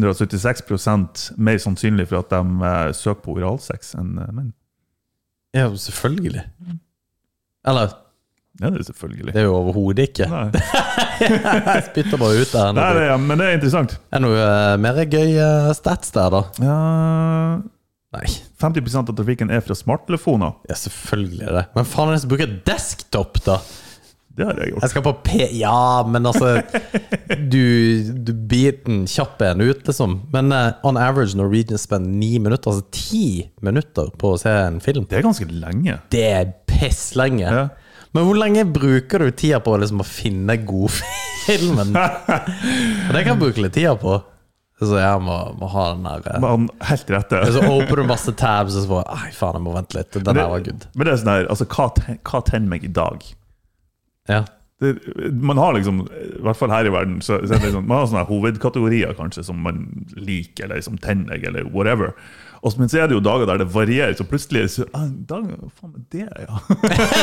S4: 3676 mer sannsynlig for at de eh, søker på oralsex enn eh, menn.
S3: Ja, selvfølgelig. Eller
S4: Ja, det er selvfølgelig.
S3: Det er jo overhodet ikke.
S4: Nei,
S3: Jeg spytter bare ut der.
S4: Nei
S3: Når
S4: det, ja, men det er interessant.
S3: Er det noe eh, mer gøy eh, stats der, da?
S4: Ja,
S3: Nei,
S4: 50 av trafikken er fra smarttelefoner.
S3: ja, selvfølgelig er det. Men faen, er det som bruker desktop, da?
S4: Det har jeg gjort.
S3: Jeg skal på P... Ja, men altså Du, du biter den kjappe en ut, liksom. Men eh, on average Norwegian spender ni minutter, altså ti minutter, på å se en film.
S4: Det er ganske lenge.
S3: Det er pisslenge.
S4: Ja.
S3: Men hvor lenge bruker du tida på liksom, å finne godfilmen? det kan jeg bruke litt tida på. Så jeg må, må ha den der eh,
S4: Men helt rett,
S3: Og
S4: det.
S3: så åpner du masse tabs, og så bare Ai, faen, jeg må vente litt. Den her var good.
S4: Men det er sånn her, altså, hva, ten, hva tenner meg i dag?
S3: Ja.
S4: det, man har liksom, i hvert fall her i verden, så, så er det liksom, man har sånne hovedkategorier kanskje som man liker, eller som tenner deg, eller whatever. Og så, men så er det jo dager der det varierer, så plutselig så, ah, dag, faen, er det ja.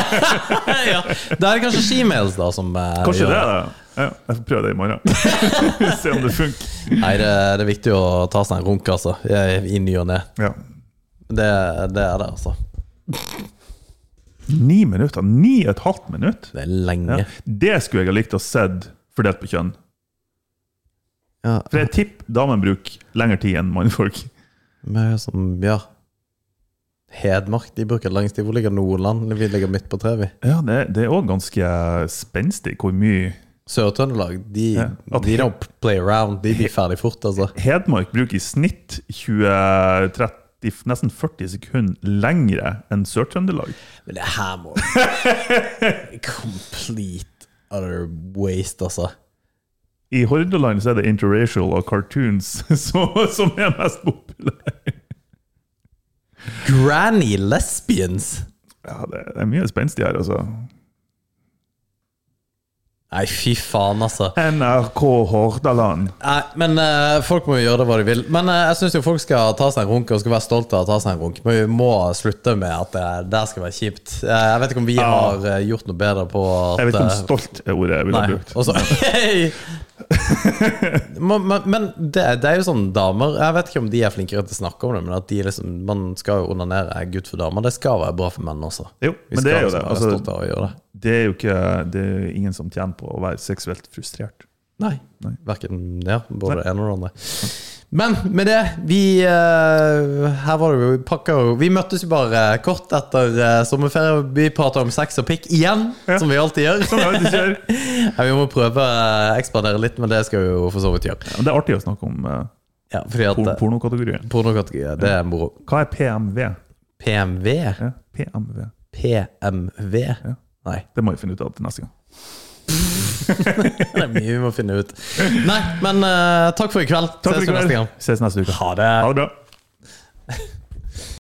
S3: ja. Da er det kanskje Gmails da som eh,
S4: Kanskje
S3: gjør
S4: det er det. Ja, jeg får prøve det i morgen. Se om det funker.
S3: Nei, det, det er viktig å ta seg en runk, altså. I i ny og ne.
S4: Ja.
S3: Det, det er det, altså.
S4: Ni minutter. Ni og et halvt minutt.
S3: Det er lenge.
S4: Ja. Det skulle jeg ha likt å sett fordelt på kjønn.
S3: Ja.
S4: For jeg tipper damen bruker lengre tid enn mannfolk.
S3: Men som, ja Hedmark de bruker lengst tid. Hvor ligger Nordland? Vi ligger midt på treet, vi.
S4: Ja, det, det er òg ganske spenstig hvor mye
S3: Sør-Trøndelag, de,
S4: Ja.
S3: de don't play around. De blir ferdig fort, altså.
S4: Hedmark bruker i snitt 20, 30, nesten 40 sekunder lengre enn Sør-Trøndelag.
S3: Men det her må Complete utter waste, altså.
S4: I Hordaland så er det interracial og cartoons som, som er mest populære.
S3: Granny lesbians!
S4: Ja, det, det er mye spenstig her, altså.
S3: Nei, fy faen, altså.
S4: NRK Hordaland.
S3: Nei, men eh, folk må jo gjøre det hva de vil. Men eh, jeg syns jo folk skal ta seg en runk, og skal være stolte av å ta seg en runk. Men vi må slutte med at eh, det der skal være kjipt. Eh, jeg vet ikke om vi
S4: Ja.
S3: har eh, gjort noe bedre på at
S4: Jeg vet ikke om
S3: eh,
S4: stolt er ordet jeg ville
S3: Nei,
S4: brukt.
S3: og så Men, men, men det, det er jo sånn damer Jeg vet ikke om de er flinkere til å snakke om det, men at de liksom, man skal jo onanere er good for damer. Det skal være bra for menn også.
S4: Jo,
S3: Vi
S4: men
S3: skal
S4: det er jo
S3: liksom
S4: det.
S3: være stolte
S4: Altså,
S3: av å gjøre det.
S4: det er jo ikke, det er jo ingen som tjener på å være seksuelt frustrert.
S3: Nei.
S4: Nei.
S3: Verken ja, både det ene og det andre. Men med det Vi eh, Her var det jo vi pakka jo Vi møttes jo bare kort etter eh, sommerferie. Vi prata om sex og pikk igjen,
S4: Ja.
S3: som vi alltid gjør.
S4: Som jeg alltid gjør.
S3: Ja, vi må prøve å ekspandere litt, men det skal vi jo for så vidt gjøre.
S4: Men Det er artig å snakke om eh,
S3: Ja, fordi at
S4: por
S3: eh,
S4: pornokategorien.
S3: Pornokategorier, det er moro.
S4: Hva er PMV?
S3: PMV?
S4: Ja, PMV.
S3: PMV? Nei,
S4: Det må vi finne ut av til neste gang.
S3: det er mye vi må finne ut. Nei, men eh, takk for i kveld.
S4: Takk for i
S3: Ses jo neste
S4: kveld.
S3: gang.
S4: Ses neste uke.
S3: Ha det.
S4: Ha det bra.